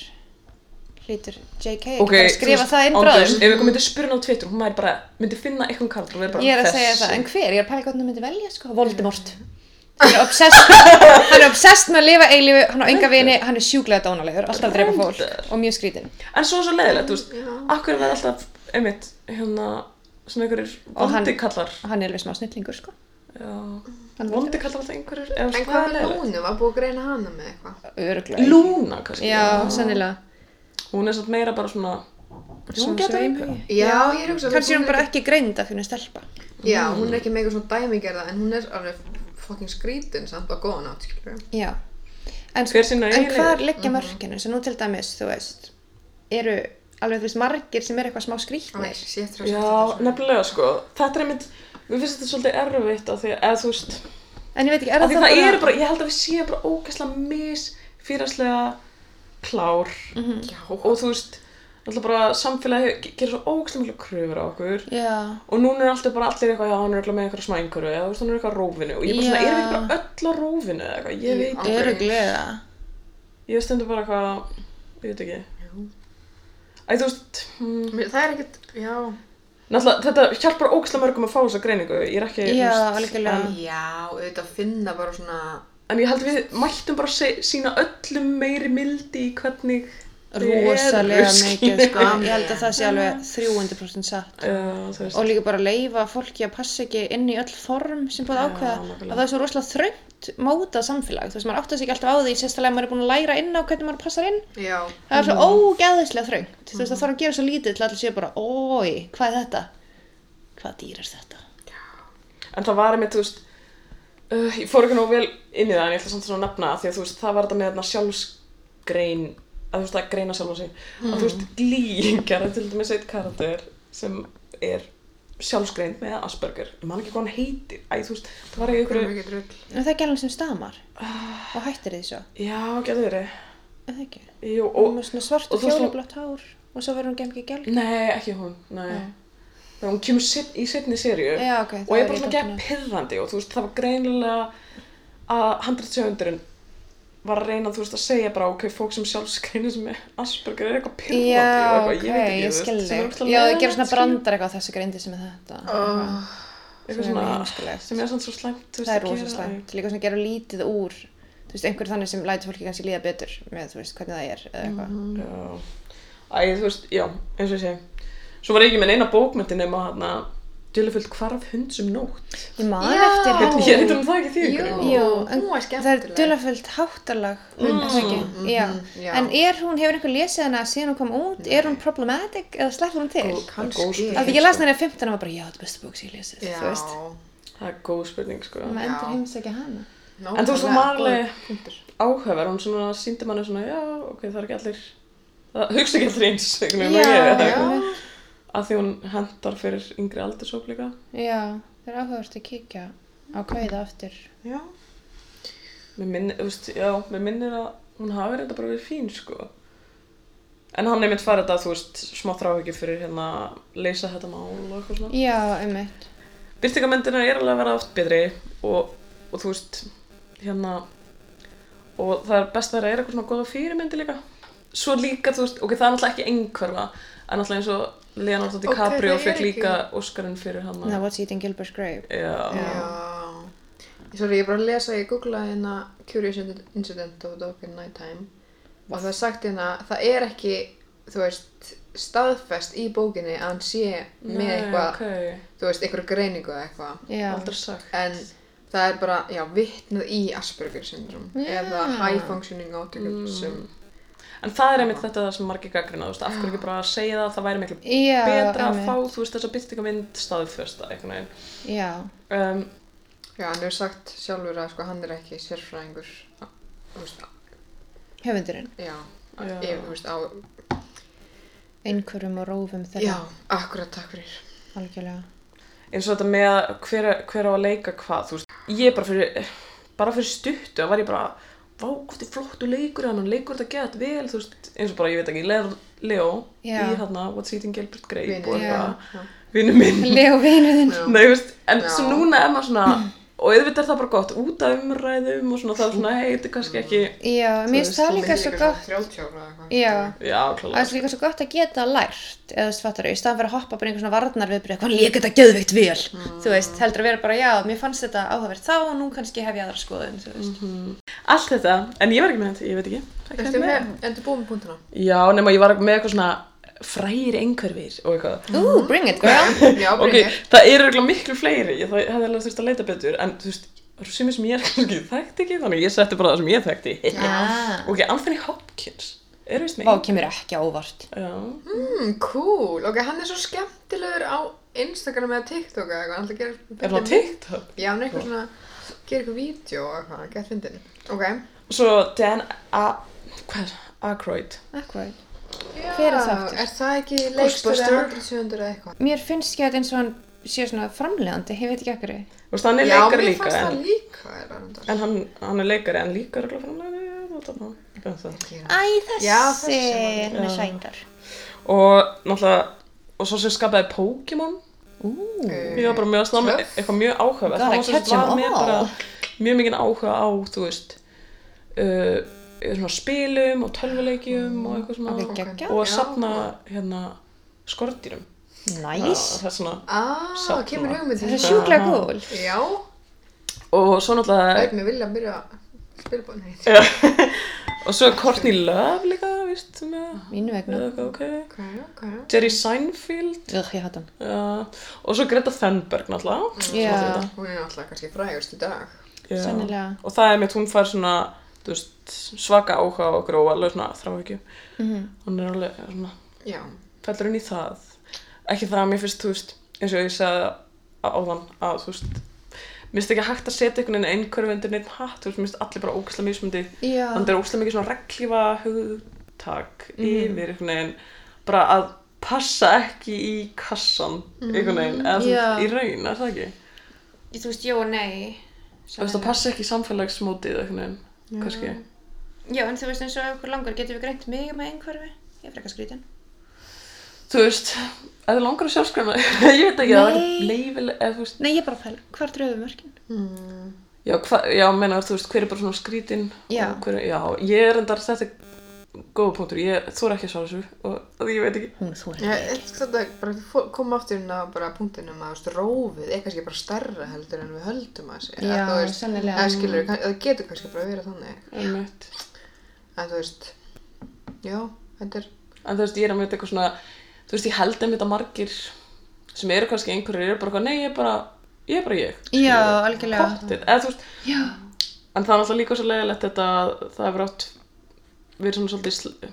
S1: Hlýtur J.K.
S3: Ok,
S1: ekki bara að skrifa
S3: þú
S1: það inn
S3: Andrés,
S1: bráðum?
S3: Ef einhver myndi spyrja hann á Twitter, hún væri bara, myndi finna einhvern karl og verið bara
S1: Ég er að
S3: þessi.
S1: segja það, en hver? Ég er að pæla hvernig hún myndi velja, sko. Voldemort. Hann er obsessed, hann er obsessed með að lifa eilífu, hann á enga vini, hann er sjúklega dónalegur, alltaf að drepa fólk og mjög skrítinn.
S3: En svo er svo leiðilegt, þú veist, akkur verður alltaf, einmitt, hérna, svona einhverjir
S1: Og hann-
S3: vondikallar.
S1: Hann er alveg smá snillingur, sko.
S3: Já,
S1: Hann er
S3: vondikallar alltaf einhverjir, eða
S2: En
S3: svona
S2: hvað
S3: það er
S2: með
S3: leiðilegt.
S2: Lúnu? Var búið að greina hana með eitthvað?
S1: Öruglega.
S3: Lúna, kannski.
S1: Já, sennilega.
S3: Hún er satt meira bara svona, já, hún
S1: Svona
S3: getur
S1: sveimhugi.
S3: einhver.
S2: Já, ég er hugsað
S1: Kanski er hún bara ekki greind af henni stelpa.
S2: Já, hún er ekki með eitthvað svona dæmigerða en hún er alveg fucking skrítin samt á góðan átt, skilur við.
S1: Já. En,
S3: Hver sína
S1: en
S3: eigin
S1: hvar
S3: leiðir.
S1: leggja mörkinu? Svo nú til dæmis, þú veist, eru alveg þú veist margir sem er eitthvað smá
S2: Nei,
S1: skrýtnir.
S2: sétt frá
S3: Já, nefnilega, sko, þetta er einmitt, mér finnst þetta svolítið erfitt af því að, eða, þú veist,
S1: En ég veit ekki, er það
S3: Af því það eru bara, ég held að við séum bara ógæslega misfýrarslega klár
S1: Mhm.
S3: og þú veist, alltaf bara samfélagi gerir svo ógæslega miklu kröfur á okkur
S1: Já.
S3: og núna er alltaf bara allir eitthvað, já, hann er eitthvað með eitthvað smá einhverju eða þú veist, hann er eitthvað á rófinu og ég er bara svona,
S1: Já.
S3: erum við bara öll á rófinu eða eitthvað, ég veit,
S2: Ok. Já.
S1: Öruglega.
S3: ég stendur bara eitthvað, ég veit ekki,
S2: nefnilega.
S3: æ, þú veist, mm,
S2: Það er ekkert, já.
S3: náttúrulega þetta hjálpar ógæslega mörgum að fá þessa greiningu, ég er ekki, þú
S1: Já,
S3: veist,
S1: algjörlega.
S3: en-
S2: Já, auðvitað finna bara svona,
S3: En ég held að við mættum bara se- sína öllum meiri mildi í hvernig þið eru,
S1: Rosalega mikið,
S3: skilurðu.
S1: sko. Ég held að það sé alveg 300% satt.
S3: Já, þú veist.
S1: Og líka bara leifa fólki að passa ekki inn í öll form sem búið
S3: Já,
S1: ákveða.
S3: nákvæmlega.
S1: Að það er svo rosalega þröngt mótað samfélag. Þú veist, maður áttast ekki alltaf á því, sérstaklega ef maður er búin að læra inn á hvernig maður passar inn.
S2: já.
S1: Það
S3: Mhm.
S1: er svo ógeðislega þröngt. Þú veist, það þarf að gera svo lítið til allir séu bara, ói, hvað er þetta? Hvað dýr er þetta?
S3: En það var einmitt, þú veist, uh, ég fór ekki nógu vel inn í það en ég ætla samt svona að nefna það, því að þú veist, það var þetta með þarna sjálfsgrein, að þú veist, að greina sjálfa sig, að þú veist, glýingar, til dæmis eitt karakter sem er sjálfsgreind með Asperger, ég man ekki hvað hann heitir, æ, þú veist, það var í
S2: Það er
S3: ykkur,
S2: mikið drull.
S1: En það er gælan sem stamar og hættir því svo,
S3: já, getur verið,
S1: er það ekki?
S3: jú,
S1: Og
S3: og,
S1: með svona svart
S3: og
S1: og
S3: þú svona-
S1: fjólublátt hár og svo verður hún gemgi gæl.
S3: nei, ekki hún, nei,
S1: Já.
S3: þegar hún kemur set, í setni serju,
S1: Já, ok.
S3: og ég bara svona gegn pyrrandi og þú veist það var greinilega að 170 var að reyna þú veist að segja bara ok, fólk sem sjálfskreinu sem er Asperger er eitthvað pyrrandi
S1: Já,
S3: og
S1: ok,
S3: eitthvað, ég veit ekki,
S1: ég
S3: þú
S1: skil
S3: veist sem er
S1: þig.
S3: ógeðslega
S1: Já, þau gera
S3: leiðinlegt,
S1: svona
S3: skilur.
S1: brandar eitthvað á þessu greindi sem er þetta.
S2: Oh.
S3: eitthvað
S1: sem er mjög
S3: svona,
S1: heimskulegt.
S3: sem er svona svo slæmt þú veist,
S1: það er
S3: að
S1: rosa
S3: gera.
S1: slæmt. Líka svona gera lítið úr, þú veist, einhver þannig sem lætur fólki kannski líða betur með, þú veist, hvernig það er eða eitthvað.
S3: Já. Æ, þú veist, já, eins og ég segi svo var ég ekki með neina bókmyndi nema hann að djölufull hvarf hund sem nótt
S1: Ég man
S2: Já.
S1: eftir
S3: ég veit ekki um það ekki því
S2: Jú.
S3: ykkur
S1: Jú,
S2: Ó,
S1: en
S2: hún var
S1: það er
S2: skemmtileg.
S1: dulaföld háttalag um mm.
S3: Mhm,
S1: ekki, já.
S2: já.
S1: En er hún, hefur einhver lesið hana síðan hún kom út, er hún problematic eða sleppur hún til?
S3: Góð- það er góð
S2: Kannski.
S3: spurning,
S1: Af því ég las
S3: sko.
S1: henni að 15 og var bara, já, þetta er besta bók sem ég lesið,
S2: Já.
S1: þú veist.
S3: það er góð spurning sko
S1: Maður
S2: Já.
S1: endur heimsækja hana.
S3: En þú veist, hún var alveg-
S2: Góður punktur.
S3: áhugaverð, hún svona síndi manni svona, já, ok, það er ekki allir, það hugsa ekki allir eins, einhvern veginn, og ég, eða
S1: já,
S3: eitthvað. Að því hún hendar fyrir yngri aldursóp líka.
S1: já, það er áhugavert að kíkja á kvæða aftur.
S2: Já.
S3: Mér minnir, þú veist, já, mér minnir að hún hafi reynda bara verið fín, sko. En hann einmitt farið þetta, þú veist, smá þrá ekki fyrir hérna að leysa þetta mál og eitthvað svona.
S1: Já, einmitt.
S3: Byrtingamyndina er alveg að vera oft betri og, og þú veist, hérna, og það er best að það er eitthvað svona góða fyrirmyndi líka. Svo líka, þú veist, ok, það er náttúrulega ekki einhverfa, en náttúrulega eins og Leonardo DiCaprio
S2: það er
S3: fekk
S2: ekki-
S3: líka Óskarinn fyrir hann.
S1: Now what's eating Gilbert's grave?
S3: Já,
S2: Já. Sorry, ég er bara að lesa, ég googlaði hérna Curious Incident of a Dog in Nighttime og það er sagt hérna, það er ekki, þú veist, staðfest í bókinni að hann sé með
S3: Nei,
S2: eitthvað,
S3: ok,
S2: þú veist, einhverju greiningu eða eitthvað
S1: Já,
S3: aldrei sagt.
S2: en það er bara, já, vitnað í Asperger syndrom
S1: Já. Mm.
S2: eða High Functioning Autism
S3: Mm. En það er einmitt þetta sem margir gaggrina, þú veist, af hverju ekki bara að segja það, það væri miklu
S1: Já,
S3: betra að
S1: einmitt.
S3: fá, þú veist, þessa byrtingamynd staðfesta, einhvern veginn.
S1: já,
S3: Um,
S2: Já, hann hefur sagt sjálfur að sko, hann er ekki sérfræðingur þú veist,
S1: höfundurinn.
S2: já,
S3: Já.
S2: Ég, þú veist, á
S1: einhverjum og rófum þeirra
S2: Já, akkurat, takk fyrir.
S1: algjörlega.
S3: eins og þetta með að hver, hver á að leika hvað þú veist, ég bara fyrir bara fyrir stuttu var ég bara vá, hvað er flottu leikur hann, hann leikur þetta gett vel þú veist, eins og bara, ég veit ekki, Le- Leo
S1: Já.
S3: í hérna, What's Eating Gilbert Grape
S2: Vinur,
S3: og
S1: já.
S3: eitthvað, vinnu minn
S1: Leo vinuðinn.
S2: Já.
S3: Nei, þú veist, en
S2: Já.
S3: svo núna er maður svona og auðvitað er það bara gott út af umræðum og svona það er svona, hei, þetta er kannski ekki
S2: Mm.
S1: Já, mér finnst það líka svo gott.
S2: 30 ára eða eitthvað.
S1: Já.
S3: já,
S1: Það
S3: klálega
S1: er líka svo gott að geta lært, eða þú svattar í staðan fyrir að hoppa bara í einhver svona varnar viðbrið, hvað líka þetta geðveikt vel, þú veist, heldur að vera bara, já, mér fannst þetta áhugavert þá og nú kannski hef ég aðra skoðun, þú veist.
S3: allt þetta, en ég var ekki með þetta, ég veit ekki Það
S2: Ertu
S3: kemur.
S2: með, endur búið með punktuna?
S3: já, nema ég var með eitthvað svona frægir einhverfir og eitthvað
S1: Ooh, bring it girl.
S2: Já,
S3: ok,
S2: bringir.
S3: það eru eiginlega miklu fleiri ég það hefði alveg þurft að leita betur en þú veist, það eru sumir sem ég er kannski þekkt ekki þannig að ég setti bara það sem ég þekkti
S1: Já.
S3: ok, Anthony Hopkins er vist
S1: Ah. Vá,
S3: með
S1: kemur ekki á óvart.
S3: já,
S2: Mm, cool. Ok, hann er svo skemmtilegur á Instagram eða TikTok eða eitthvað. Hann ætla að gera...
S3: er það á TikTok
S2: Já, hann er eitthvað svona... Gera eitthvað vídeo og eitthvað. Gett fyndin. Ok.
S3: svo Dan A hvað er, Aykroyd
S1: Akkurat.
S2: Já,
S1: Hver er það aftur?
S2: Er það ekki leikstjóri
S3: Ghostbuster?
S2: 100-700 eða eitthvað?
S1: Mér finnst ekki að þetta eins og hann sé svona framlegandi, ég veit ekki okkur.
S3: þú veist, hann er
S2: Já,
S3: leikari
S2: mér
S3: líka
S2: fannst það
S3: en,
S2: líka. er það reyndar.
S3: en hann, hann er leikari en líka er ekki framlega
S1: Æ, þessi,
S2: Já, þessi var-
S1: hann er sændar.
S3: og náttúrulega og svo sem skapaði Pokémon
S1: Ú,
S3: ég var bara mjög að snáma
S2: Töff.
S3: eitthvað mjög áhuga
S1: Gotta
S3: það var, sem sagt
S1: catch 'em
S3: var mér
S1: all.
S3: bara mjög mikið áhuga á þú veist uh, svona spilum og tölvuleikjum og eitthvað svona
S1: við geggja.
S3: og að
S2: Já.
S3: safna hérna skordýrum
S1: Næs.
S3: það er svona
S2: Ah,
S3: Safna.
S2: kemur hugmyndin.
S1: Það er sjúklega gúl.
S2: Já,
S3: og svo náttúrulega
S2: auðvitað vilja að byrja að spila bóðin heitt.
S3: Já. og svo er Courtney Love líka víst með
S1: Mínu vegna.
S3: eða eitthvað ok
S2: Ok, ok.
S3: Jerry Seinfeld
S1: Ugh, ég hatt hann.
S3: uh, og svo Greta Thunberg náttúrulega
S1: Já,
S2: Hún er náttúrulega kannski frægust í dag.
S3: Já.
S1: Sennilega.
S3: og það er mitt, hún fær svona þú veist, svaka áhuga og gróa alveg svona þráhyggju -hmm.
S1: Mhm.
S3: hún er alveg svona,
S2: Já.
S3: fellur inn í það ekki það að mér finnst, þú veist eins og ég sagði á- áðan að þú veist, mér finnst ekki hægt að setja einhvern veginn einhverju undir neitt hatt, þú veist, mér finnst allir bara ógæslega mismundi,
S1: Já. Mhm.
S3: þannig er ógæslega mikið svona reglífa hugtak yfir einhvern veginn, bara að passa ekki í kassan einhvern veginn, eða
S1: Mhm. Já.
S3: yeah. í raun er það ekki?
S1: Þú veist, já og nei.
S3: Þú veist, það passa ekki í samfélagsmótið einhvern veginn, kannski
S1: Já, en þú veist eins og ef okkur langar, getum við greint mig með einhverfi? Ég er frekar skrítin.
S3: þú veist, ef þið langar að sjálfskræma ég veit ekki, það er
S1: Nei.
S3: leifileg eða þú veist,
S1: Nei, ég er bara að pæla, hvar dröfum mörkin?
S2: Mm.
S3: já, hva, já, menar þú veist hver er bara svona skrítin
S1: Já.
S3: og hver, já, ég er endar, þetta er góða punktur, ég þóra ekki að svara þessu og og ég veit ekki,
S1: Hún þú er
S2: Ég eitthvað þetta er bara fó- koma aftur inn á bara punktinum að þú veist, rófið er kannski bara stærra heldur en við höldum að sé.
S1: Já,
S2: Að þú veist,
S1: sennilega.
S2: eða skilurðu, kann- Það getur kannski bara verið þannig.
S3: einmitt
S2: En þú veist, já, þetta er,
S3: en þú veist, ég er að mynda eitthvað svona þú veist, ég held einmitt að margir sem eru kannski einhverjir, eru bara eitthvað, nei, ég er bara ég er bara ég,
S1: Já, algjörlega.
S3: pottið, eða þú veist
S1: Já.
S3: en það er náttúrulega líka svo leiðilegt þetta að það hefur átt verið svona svolítið sl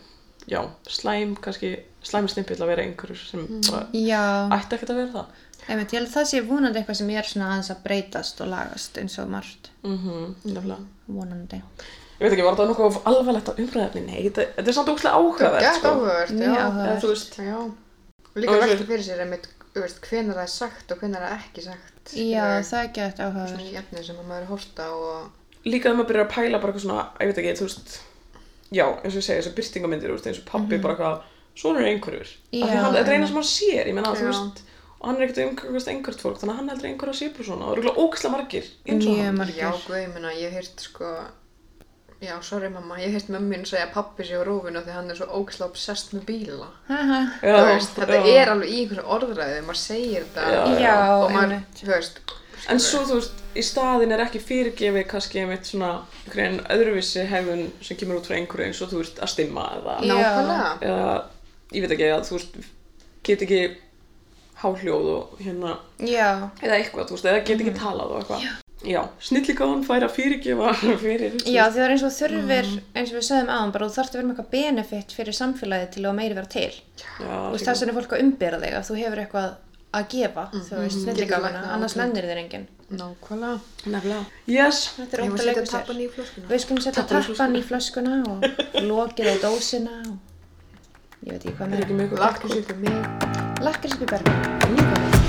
S3: já, slæm, kannski slæmi stimpill að vera einhverjur sem bara
S1: Mm. Já,
S3: ætti ekkert að vera það
S1: einmitt, ég held að það sé vonandi eitthvað sem ég er svona aðeins að breytast og lagast eins og margt.
S3: Mhm, nefnilega.
S1: Vonandi.
S3: Ég veit ekki, var þetta nokkuð alvarlegt á umræðinni? Nei, þetta, þetta er samt ógæslega áhugavert, sko.
S2: gett áhugavert,
S1: Mjög
S2: já.
S1: áhugavert.
S3: Eða, þú veist,
S2: Já, og líka
S3: Og þú-
S2: velta fyrir sér einmitt, þú veist, hvenar það er sagt og hvenar það er ekki sagt.
S1: Já,
S2: skilurðu,
S1: það er gett áhugaður.
S2: Svona í efni sem að maður er að horta á og,
S3: líka þegar maður byrjar að pæla bara eitthvað svona, ég veit ekki, þú veist, já, eins og ég segi, þessar byrtingamindir, þú veist, eins og pappi bara eitthvað, svona er einhverjur. Af því
S1: Já,
S3: hann, þetta er eina sem hann sér, ég menna, þú
S2: Já.
S3: veist, og hann er ekkert umkvæmast einhvert fólk, þannig að hann heldur að einhverju að sé bara svona, og eru ógæslega margir, eins og
S1: Mjög
S3: hann.
S2: já,
S1: margir.
S2: guð, ég meina, ég hef heyrt sko, já, sorry mamma, ég hef heyrt mömmin segja að pappi sé á rófinu af því að hann er svo ógislega obsessed með bíla.
S1: Haha.
S3: Já,
S2: Þú veist, þetta
S3: já.
S2: er alveg í einhverju orðræði, maður segir þetta
S3: Já,
S1: Já,
S2: og maður,
S1: einmitt.
S2: þú veist,
S3: En svo, þú veist, í staðin er ekki fyrirgefið kannski einmitt svona, einhverjum öðruvísi hefðun sem kemur út frá einhverju eins og, þú veist, að stimma eða
S1: Já.
S2: nákvæmlega.
S3: eða ég veit ekki að þú veist get ekki háhljóð og hérna
S1: Já.
S3: eða eitthvað, þú veist, eða get
S1: Mhm.
S3: ekki talað og eitthvað Já, snilligáðan fær að fyrirgefa fyrir
S1: Já, því það er eins og þú þurfir, eins og við sögum aðan, bara þú þarfst að vera með eitthvað benefit fyrir samfélagið til að meiri vera til. Þú veist, þess
S3: Já,
S1: vegna er fólk að umbera þig að þú hefur eitthvað að gefa, þú veist, snilligáfuna,
S2: Getur læknað,
S1: annars
S2: ok.
S1: lennir þér enginn.
S2: Nákvæmlega.
S3: nefnilega Yes,
S1: Þetta er
S2: Ég var
S1: ótt að
S2: svolítið
S1: leikur
S2: að tappa
S1: sér.
S2: nýju flöskuna.
S1: Við skulum setja
S3: Tappan í
S1: tappan í flöskuna og lokið á dósina og Ég veit ekki hvað
S3: Það er
S1: meira.
S3: ekki mjög gott.
S2: Lakkur sér til mig
S1: Lakkrísbjörn. Líka.